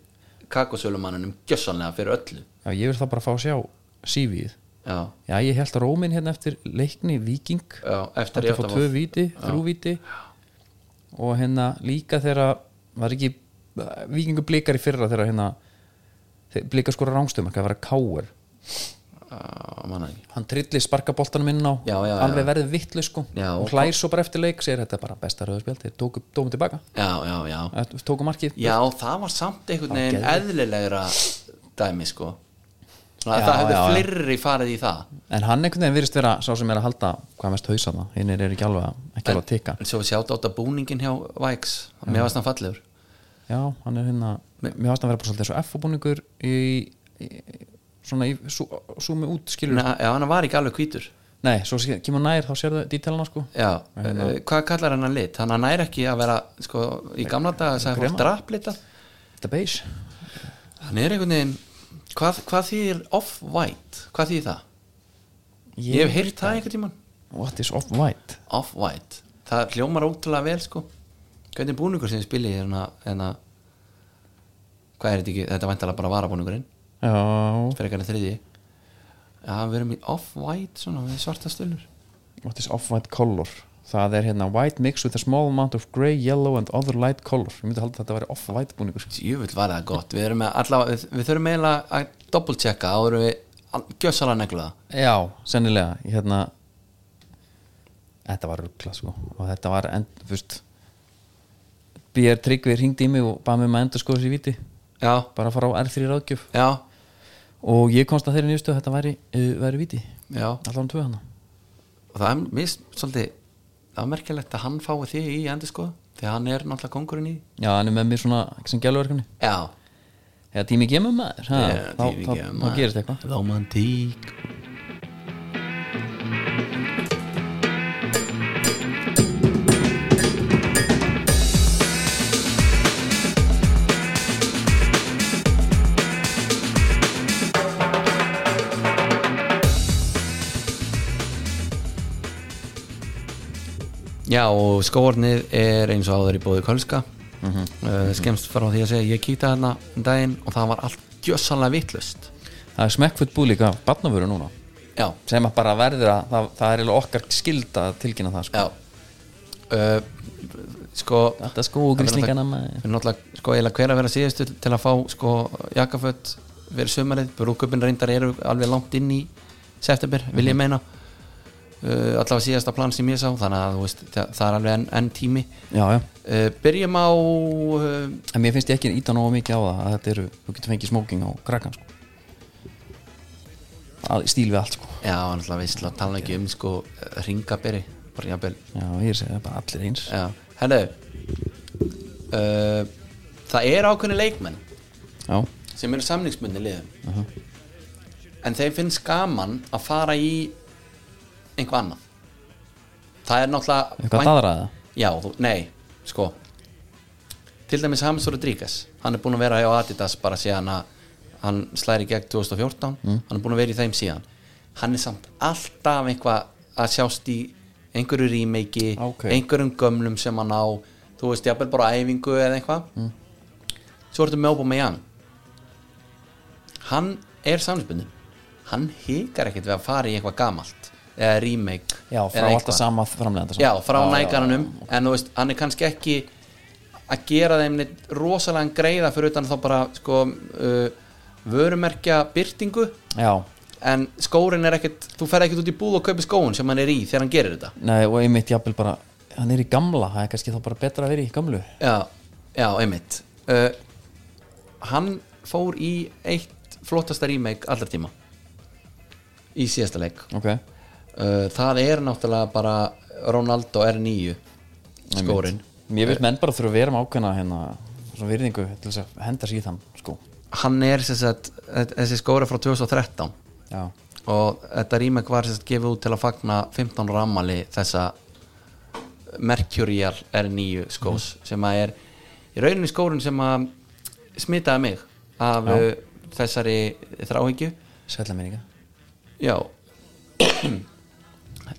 Speaker 2: kakosölumannunum gjössanlega fyrir öllu
Speaker 1: Já, ég vil það bara fá að sjá CV-ið
Speaker 2: já,
Speaker 1: Já, ég held að róminn hérna eftir leikni Viking
Speaker 2: já, eftir
Speaker 1: Þetta fá tvö víti, þrjú víti og hérna líka þegar var ekki Vikingu blikar í fyrra þegar hérna þeir- blikar skora rángstöðum, það var að káur
Speaker 2: já,
Speaker 1: hann trilli sparkaboltanum inn á
Speaker 2: Já, já,
Speaker 1: alveg
Speaker 2: já.
Speaker 1: verðið vittlu sko
Speaker 2: Já,
Speaker 1: og
Speaker 2: og-
Speaker 1: hlær svo bara eftir leik, segir þetta er bara besta rauðspjald þeir tóku dómum tilbaka,
Speaker 2: já, já, já.
Speaker 1: Þetta- tóku markið
Speaker 2: Já, það var samt einhvern veginn eðlilegra dæmi sko Svona,
Speaker 1: Já,
Speaker 2: Það hefði
Speaker 1: já, já.
Speaker 2: fleiri farið í það
Speaker 1: en hann einhvern veginn virðist vera sá sem er að halda hvað mest hausa það, hinn er ekki alveg að- ekki alveg að tikka
Speaker 2: En svo sjátt átt að búningin hjá Væks Mér varst hann fallegur
Speaker 1: já, hann er hérna, mér varst að vera bara svolítið svo F-búningur í, í svona í sú, súmi út skilur
Speaker 2: Na, Já, hann var ekki alveg hvítur
Speaker 1: nei, svo sé- kemur nær, þá sérðu dítelana sko
Speaker 2: Já, uh, hvað kallar hann hann lit? Hann hann nær ekki að vera sko, í gamla dag að sagði fólk draplita
Speaker 1: þetta er beige,
Speaker 2: Hann er einhvern veginn Hvað, hvað þýðir off-white? Hvað þýðir það? Ég, hef heyrt það einhvern tímann
Speaker 1: what is off-white
Speaker 2: Off-white, það hljómar ótrúlega vel sko Hvernig búningur sem ég spili hérna, hérna Hvað er þetta ekki, þetta er væntalega bara varabúningurinn
Speaker 1: já,
Speaker 2: Fyrir eitthvað þriði Já, við erum í off-white svona með svarta stöldur
Speaker 1: what is off-white color það er hérna white mixed with a small amount of grey, yellow and other light color ég myndi halda að þetta væri off-white búningur
Speaker 2: Jöfull var það gott, við erum með allavega Við, við þurfum eiginlega að double checka áður en við gjössalega negla það
Speaker 1: Já, sennilega Ég hérna Þetta var ruggla sko og þetta var end, fyrst B.R. Tryggvi hringdi í mig og bað mig um að enda sko þessi viti
Speaker 2: Já,
Speaker 1: bara að fara á R3 ráðgjöf
Speaker 2: já,
Speaker 1: og ég komst að þeirri nýstu að þetta væri, uh, væri viti
Speaker 2: já
Speaker 1: allan tvö hana
Speaker 2: og það er mist svolítið það er merkilegt að hann fái þig í endur sko þegar hann er náttúrulega kongurinn í
Speaker 1: Já, hann er með mér svona sem gæluverkefni
Speaker 2: Já,
Speaker 1: Eða tími gemum maður ha,
Speaker 2: Já,
Speaker 1: þá,
Speaker 2: tími
Speaker 1: þá,
Speaker 2: gemma.
Speaker 1: þá gerist eitthvað
Speaker 2: romantík Já og skóarnið er eins og áður í bóði Kölska mm
Speaker 1: Mhm.
Speaker 2: skemst frá því að segja ég kýta þarna um daginn og það var allt gjössanlega vittlust
Speaker 1: Það er smekkfutt búið líka barnavöru núna
Speaker 2: Já,
Speaker 1: sem að bara verður að það, það er eiginlega okkar skilda að tilkynna það sko
Speaker 2: já uh, Sko
Speaker 1: Þetta sko og gríslingana maður
Speaker 2: Við erum náttúrulega sko eiginlega hver að vera síðustu til að fá sko jakkaföt fyrir sumarið, brúkupin reyndar eru alveg langt inn í september, vil
Speaker 1: Mhm.
Speaker 2: ég meina uh, allavega síðasta plan sem ég sá þannig að þú veist, það, það er alveg enn en tími
Speaker 1: Já, já
Speaker 2: uh, Byrjum á uh,
Speaker 1: En mér finnst ég ekki íta nógu mikið á það að þetta eru, þú getur fengið smóking á krakkan sko. að stíl við allt sko.
Speaker 2: Já, náttúrulega veist, tala ekki um sko ringaberi, bara jafnvel
Speaker 1: Já, ég segi það er bara allir eins
Speaker 2: Já, hennu uh, Það er ákveðni leikmenn
Speaker 1: Já,
Speaker 2: sem eru samningsmundi liðum en þeim finnst gaman að fara í einhvað annað það er náttúrulega
Speaker 1: eitthvað daðraða
Speaker 2: já, þú, nei, sko til dæmis James Rodríguez hann er búin að vera hjá Adidas bara síðan að hann slæri gegn 2014
Speaker 1: Mm.
Speaker 2: hann er búin að vera í þeim síðan hann er samt alltaf einhvað að sjást í einhverju remake
Speaker 1: Ok.
Speaker 2: einhverjum gömlum sem hann á þú veist, jafnvel bara æfingu eða eitthvað
Speaker 1: Mm.
Speaker 2: svo ertu með Aubameyang hann er samlisbundin hann hikar ekkert við að fara í eitthvað gamalt eða remake
Speaker 1: Já, frá
Speaker 2: eða eitthvað.
Speaker 1: alltaf sama sko. framlegenda samt.
Speaker 2: já, frá
Speaker 1: já,
Speaker 2: nækaranum en þú veist, hann er kannski ekki að gera þeim neitt rosalega greiða fyrir utan þá bara sko, uh, vörumerkja byrtingu
Speaker 1: Já,
Speaker 2: en skórin er ekkert þú ferð ekkert út í búð og kaupi skóin sem hann er í þegar hann gerir þetta
Speaker 1: nei, og einmitt jafnvel bara hann er í gamla, það er kannski þá bara betra að vera í gamlu
Speaker 2: já, já einmitt uh, hann fór í eitt flottasta remake allar tíma í síðasta leik
Speaker 1: Ok,
Speaker 2: uh, það er náttúrulega bara Ronaldo R9 skórin
Speaker 1: mér finnst menn bara þurfa að vera með ákveðna hérna, svona virðingu til þess að henda sér í þann sko.
Speaker 2: hann er sem sagt, þessi skóra frá 2013
Speaker 1: Já,
Speaker 2: og þetta remake var sem sagt, gefið út til að fagna 15 ára ammali þessa Mercurial R9 skós sem að er í rauninni skórin sem að smitaði mig af
Speaker 1: Já.
Speaker 2: Já. þessari þráhyggju
Speaker 1: sætla mér ekki
Speaker 2: Já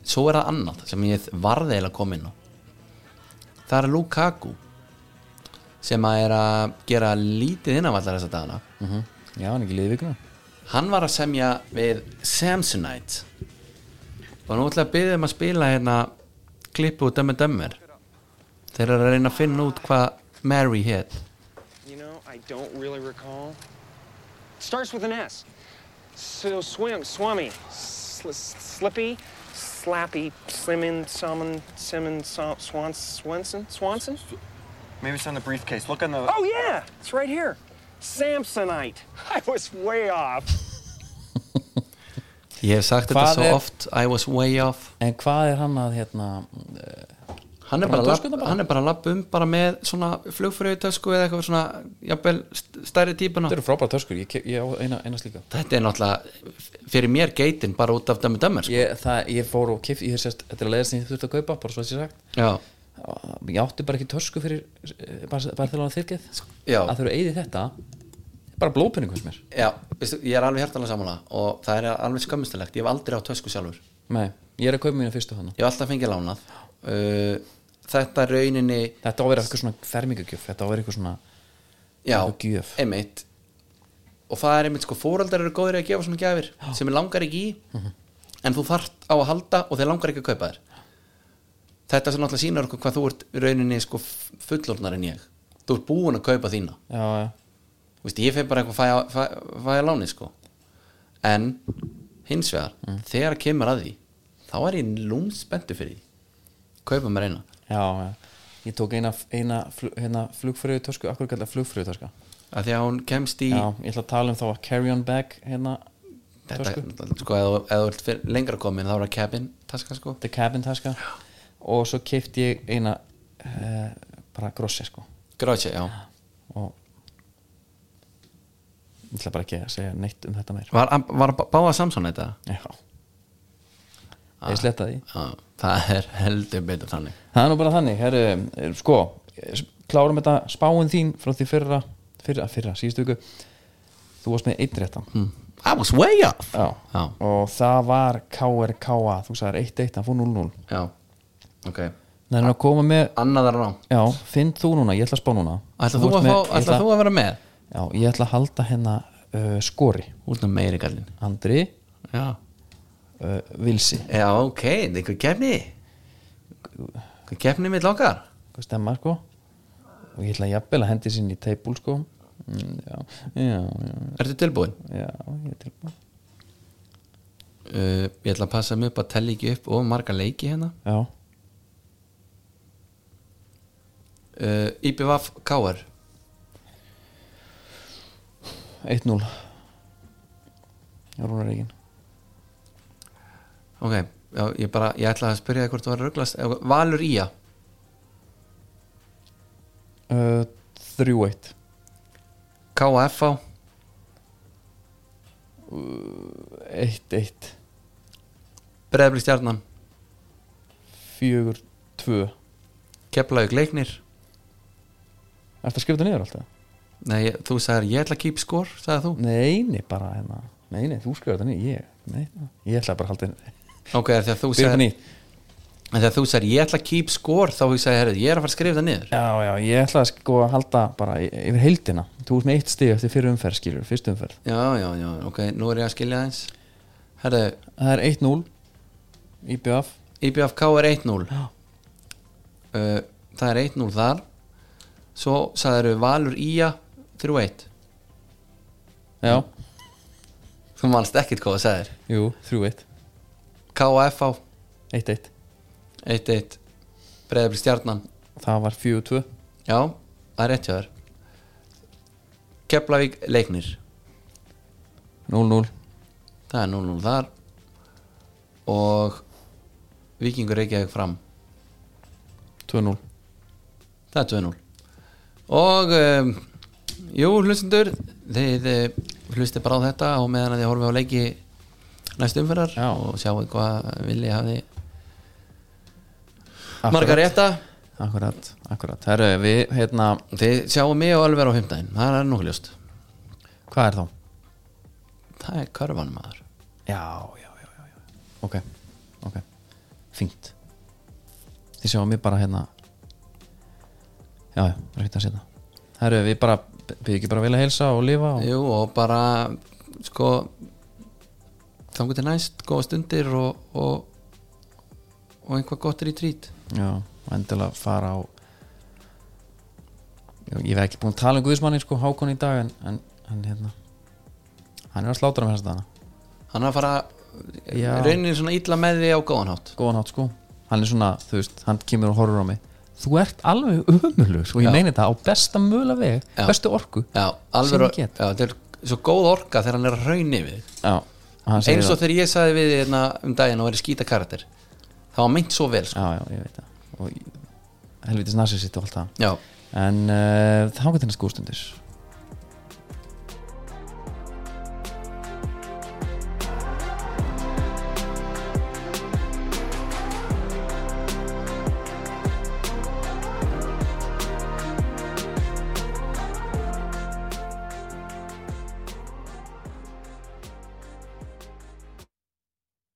Speaker 2: Svo er það annað sem ég varði eiginlega að koma inn á Það er Lukaku sem að er að gera lítið innanvallar þessa dagana
Speaker 1: Já, hann er ekki liðið vikuna
Speaker 2: Hann var að semja við Samsonite og nú ætla ég að byggja um að spila hérna klippu úr Dömmer Dömmer Þeir eru að reyna að finna út hvað Mary hét
Speaker 8: You know, I don't really recall. Starts with an S. So swim, swummy, sl- slippy, slappy, slimming, salmon, simmon, so- swan, swanson, swanson?
Speaker 9: Maybe it's on the briefcase. Look on the.
Speaker 8: Oh, yeah, it's right here. Samsonite. I was way off.
Speaker 2: Ég hef sagt
Speaker 1: Hvað
Speaker 2: þetta svo
Speaker 1: er-
Speaker 2: oft I was way off
Speaker 1: En hvað er hann að hérna
Speaker 2: hann
Speaker 1: Bara
Speaker 2: er bara,
Speaker 1: með
Speaker 2: lapp,
Speaker 1: töskuna bara?
Speaker 2: hann er bara lapp um bara með svona flugfröðutösku eða eitthvað svona jafnvel st- stærri típuna
Speaker 1: Þetta eru frábæra töskur, ég, ke- ég á eina, eina slíka
Speaker 2: þetta er náttúrulega f- fyrir mér geitin bara út af dömmu dömmur sko.
Speaker 1: ég, það, ég fór og kif, ég hef sérst Þetta er að leiða sem ég þurfti að kaupa, bara svo að sé sagt
Speaker 2: já,
Speaker 1: Ég átti bara ekki tösku fyrir eh, bara, bara þegar hann þyrkið
Speaker 2: Já.
Speaker 1: Að þau eru eigið þetta er bara blópenning hos mér
Speaker 2: já veistu, ég er alveg hjartalega samanlega og það er alveg skömmistilegt ég hef aldrei á tösku sjálfur ég
Speaker 1: Nei, ég er að kaupa mínu fyrstu hana
Speaker 2: hef alltaf fengið lánað uh, þetta rauninni
Speaker 1: Þetta á að vera eitthvað svona fermingugjöf Þetta á að vera eitthvað svona
Speaker 2: já,
Speaker 1: Eitthvað gjöf.
Speaker 2: einmitt og það er einmitt sko, fóreldar eru góðir í að gefa svona gjafir sem er langar ekki í
Speaker 1: Mhm.
Speaker 2: en þú þart á að halda og þeir langar ekki að kaupa þér þetta sem náttúrulega sýnar okkur hvað þú ert í rauninni sko fullornar en ég þú ert búin að kaupa þína
Speaker 1: Já, já
Speaker 2: Vist, ég feg bara eitthvað að fæ, fæ, fæ að láni sko en hins vegar,
Speaker 1: Mm.
Speaker 2: þegar kemur að því þá er ég lúmspenntu fyrir því kaupa mér eina
Speaker 1: já, já. ég tók eina, eina flug, hérna, flugfröðu tösku, akkur kallar flugfröðu töska
Speaker 2: að því að hún kemst í
Speaker 1: já, ég ætla að tala um þá að carry-on bag hérna,
Speaker 2: þetta,
Speaker 1: tösku,
Speaker 2: sko, eða þú- ef þú ert fyrir- lengra komin þá er það cabin taska sko
Speaker 1: the cabin taska og svo keipti ég eina eh, bara grossi sko
Speaker 2: gráðsja, já,
Speaker 1: og ég ætla bara ekki að segja neitt um þetta meir
Speaker 2: var, var báða Samson þetta?
Speaker 1: já ég sletta því
Speaker 2: Já, það er heldur betur þannig
Speaker 1: það er nú bara þannig, herru, eh, sko eh, klárum þetta spáin þín frá því fyrra, fyrra, fyrra síðustu viku þú varst með eitt réttan
Speaker 2: mm. I was way off
Speaker 1: já.
Speaker 2: Já.
Speaker 1: og það var KRKA þú sagðir 1-1, hann fór 0-0
Speaker 2: já, ok,
Speaker 1: það er nú að koma með,
Speaker 2: annað er rám
Speaker 1: já, finn þú núna ég ætla að spá núna
Speaker 2: ætla þú,
Speaker 1: ert
Speaker 2: að
Speaker 1: með-
Speaker 2: fá,
Speaker 1: ég
Speaker 2: ætla þú að vera með?
Speaker 1: já, ég ætla að halda hennar uh, skori,
Speaker 2: út af meiri gallin
Speaker 1: Andri
Speaker 2: já,
Speaker 1: uh, Vilsi,
Speaker 2: já ok, þetta er einhver kefni einhver kefni mitt okkar
Speaker 1: hvað stemma sko og ég ætla jafnvel að hendi sinni í teipul sko mm, já, já, já,
Speaker 2: ertu tilbúin?
Speaker 1: já, ég er tilbúin
Speaker 2: Uh, ég ætla að passa mig upp að tella ekki upp og marga leiki hérna
Speaker 1: já,
Speaker 2: uh, IBVF KR
Speaker 1: 1-0 Rúnar Reygin
Speaker 2: ok, já, ég, bara, ég ætla að spyrja þig hvort þú var að rugglast Eh, Valur Ía,
Speaker 1: uh, 3-1
Speaker 2: KFA
Speaker 1: 1-1
Speaker 2: Breðabli Stjarnan,
Speaker 1: 4-2
Speaker 2: Keflavík Leiknir
Speaker 1: Ertu að skrifa þetta niður alltaf?
Speaker 2: Nei, ég- þú sagðir ég ætla að keep score, sagði þú
Speaker 1: Nei, nei, bara hérna Nei, nei, þú skrifa þetta niður Ég, nei, ég ætla bara að halda þetta
Speaker 2: Ok, af því að þú
Speaker 1: Byrja
Speaker 2: sagðir
Speaker 1: nýtt
Speaker 2: en þegar þú sagðir ég ætla að keep score þá hugsaði ég, herrið, ég er að fara að skrifa það niður
Speaker 1: Já, já, ég ætla að sko að halda bara y- yfir heildina Þú veist með eitt stig eftir fyrir umferð skilur, fyrst umferð
Speaker 2: Já, já, já, ok, nú er ég að skilja aðeins Herðu,
Speaker 1: Það er 1-0 IBF
Speaker 2: IBFK er 1-0 uh,
Speaker 1: Já.
Speaker 2: Það er 1-0 þar Svo sagðir Valur Ía 3-1
Speaker 1: Já,
Speaker 2: Þú manst ekkert hvað það sagðir
Speaker 1: jú, 3-1
Speaker 2: KFA
Speaker 1: 1-1
Speaker 2: 1-1 Breiðabli Stjarnan
Speaker 1: Það var 4-2
Speaker 2: Já, það er rétt hjá þér Keflavík Leiknir
Speaker 1: 0-0
Speaker 2: Það er 0-0 þar Og Víkingur Reykjavík fram
Speaker 1: 2-0
Speaker 2: Það er 2-0 Og um, Jú, hlustendur Þið uh, hlustið bara á þetta og meðan að þið horfið á leiki næstu umferðar
Speaker 1: Já.
Speaker 2: og sjáuð hvað vilji hafi margar rétta
Speaker 1: Akkurat, akkurat Herru, við, hérna,
Speaker 2: Þið sjáuð mig og alveg á fimmtæðin Það er nokkuð ljóst
Speaker 1: hvað er þá?
Speaker 2: Það er körfan maður
Speaker 1: Já, já, já, já, já. Ok, ok, fínt Þið sjáum við bara hérna Já, já, bara hérna sérna Herru, við bara, við ekki bara vilja heilsa og lifa og...
Speaker 2: Jú, og bara sko þangur til næst, góða stundir og, og, og einhvað gott er í trít
Speaker 1: Já, og endilega fara á Já, Ég verð ekki búin að tala um Guðismanni sko Hákon í dag en, en, en hérna Hann er að slátra um með þess að hana
Speaker 2: Hann er að fara
Speaker 1: Já.
Speaker 2: rauninni svona illa með því á góðan hátt
Speaker 1: Góðan hátt sko Hann er svona, þú veist, hann kemur og horfur á mig Þú ert alveg ömurlur og ég
Speaker 2: Já.
Speaker 1: meina þetta á besta mögulega veg
Speaker 2: Já.
Speaker 1: Bestu orku
Speaker 2: Já,
Speaker 1: Sem
Speaker 2: alveg
Speaker 1: ég get.
Speaker 2: já, þetta er svo góð orka þegar hann er að raunni við
Speaker 1: Já, hann segir
Speaker 2: eins
Speaker 1: það.
Speaker 2: og þegar ég sagði við þig hérna um daginn og verið skýta karakter það var meint svo vel sko.
Speaker 1: já, já, ég veit það eh, og helvitis narsisitt og allt það
Speaker 2: já,
Speaker 1: en uh, þá getur þetta skústundir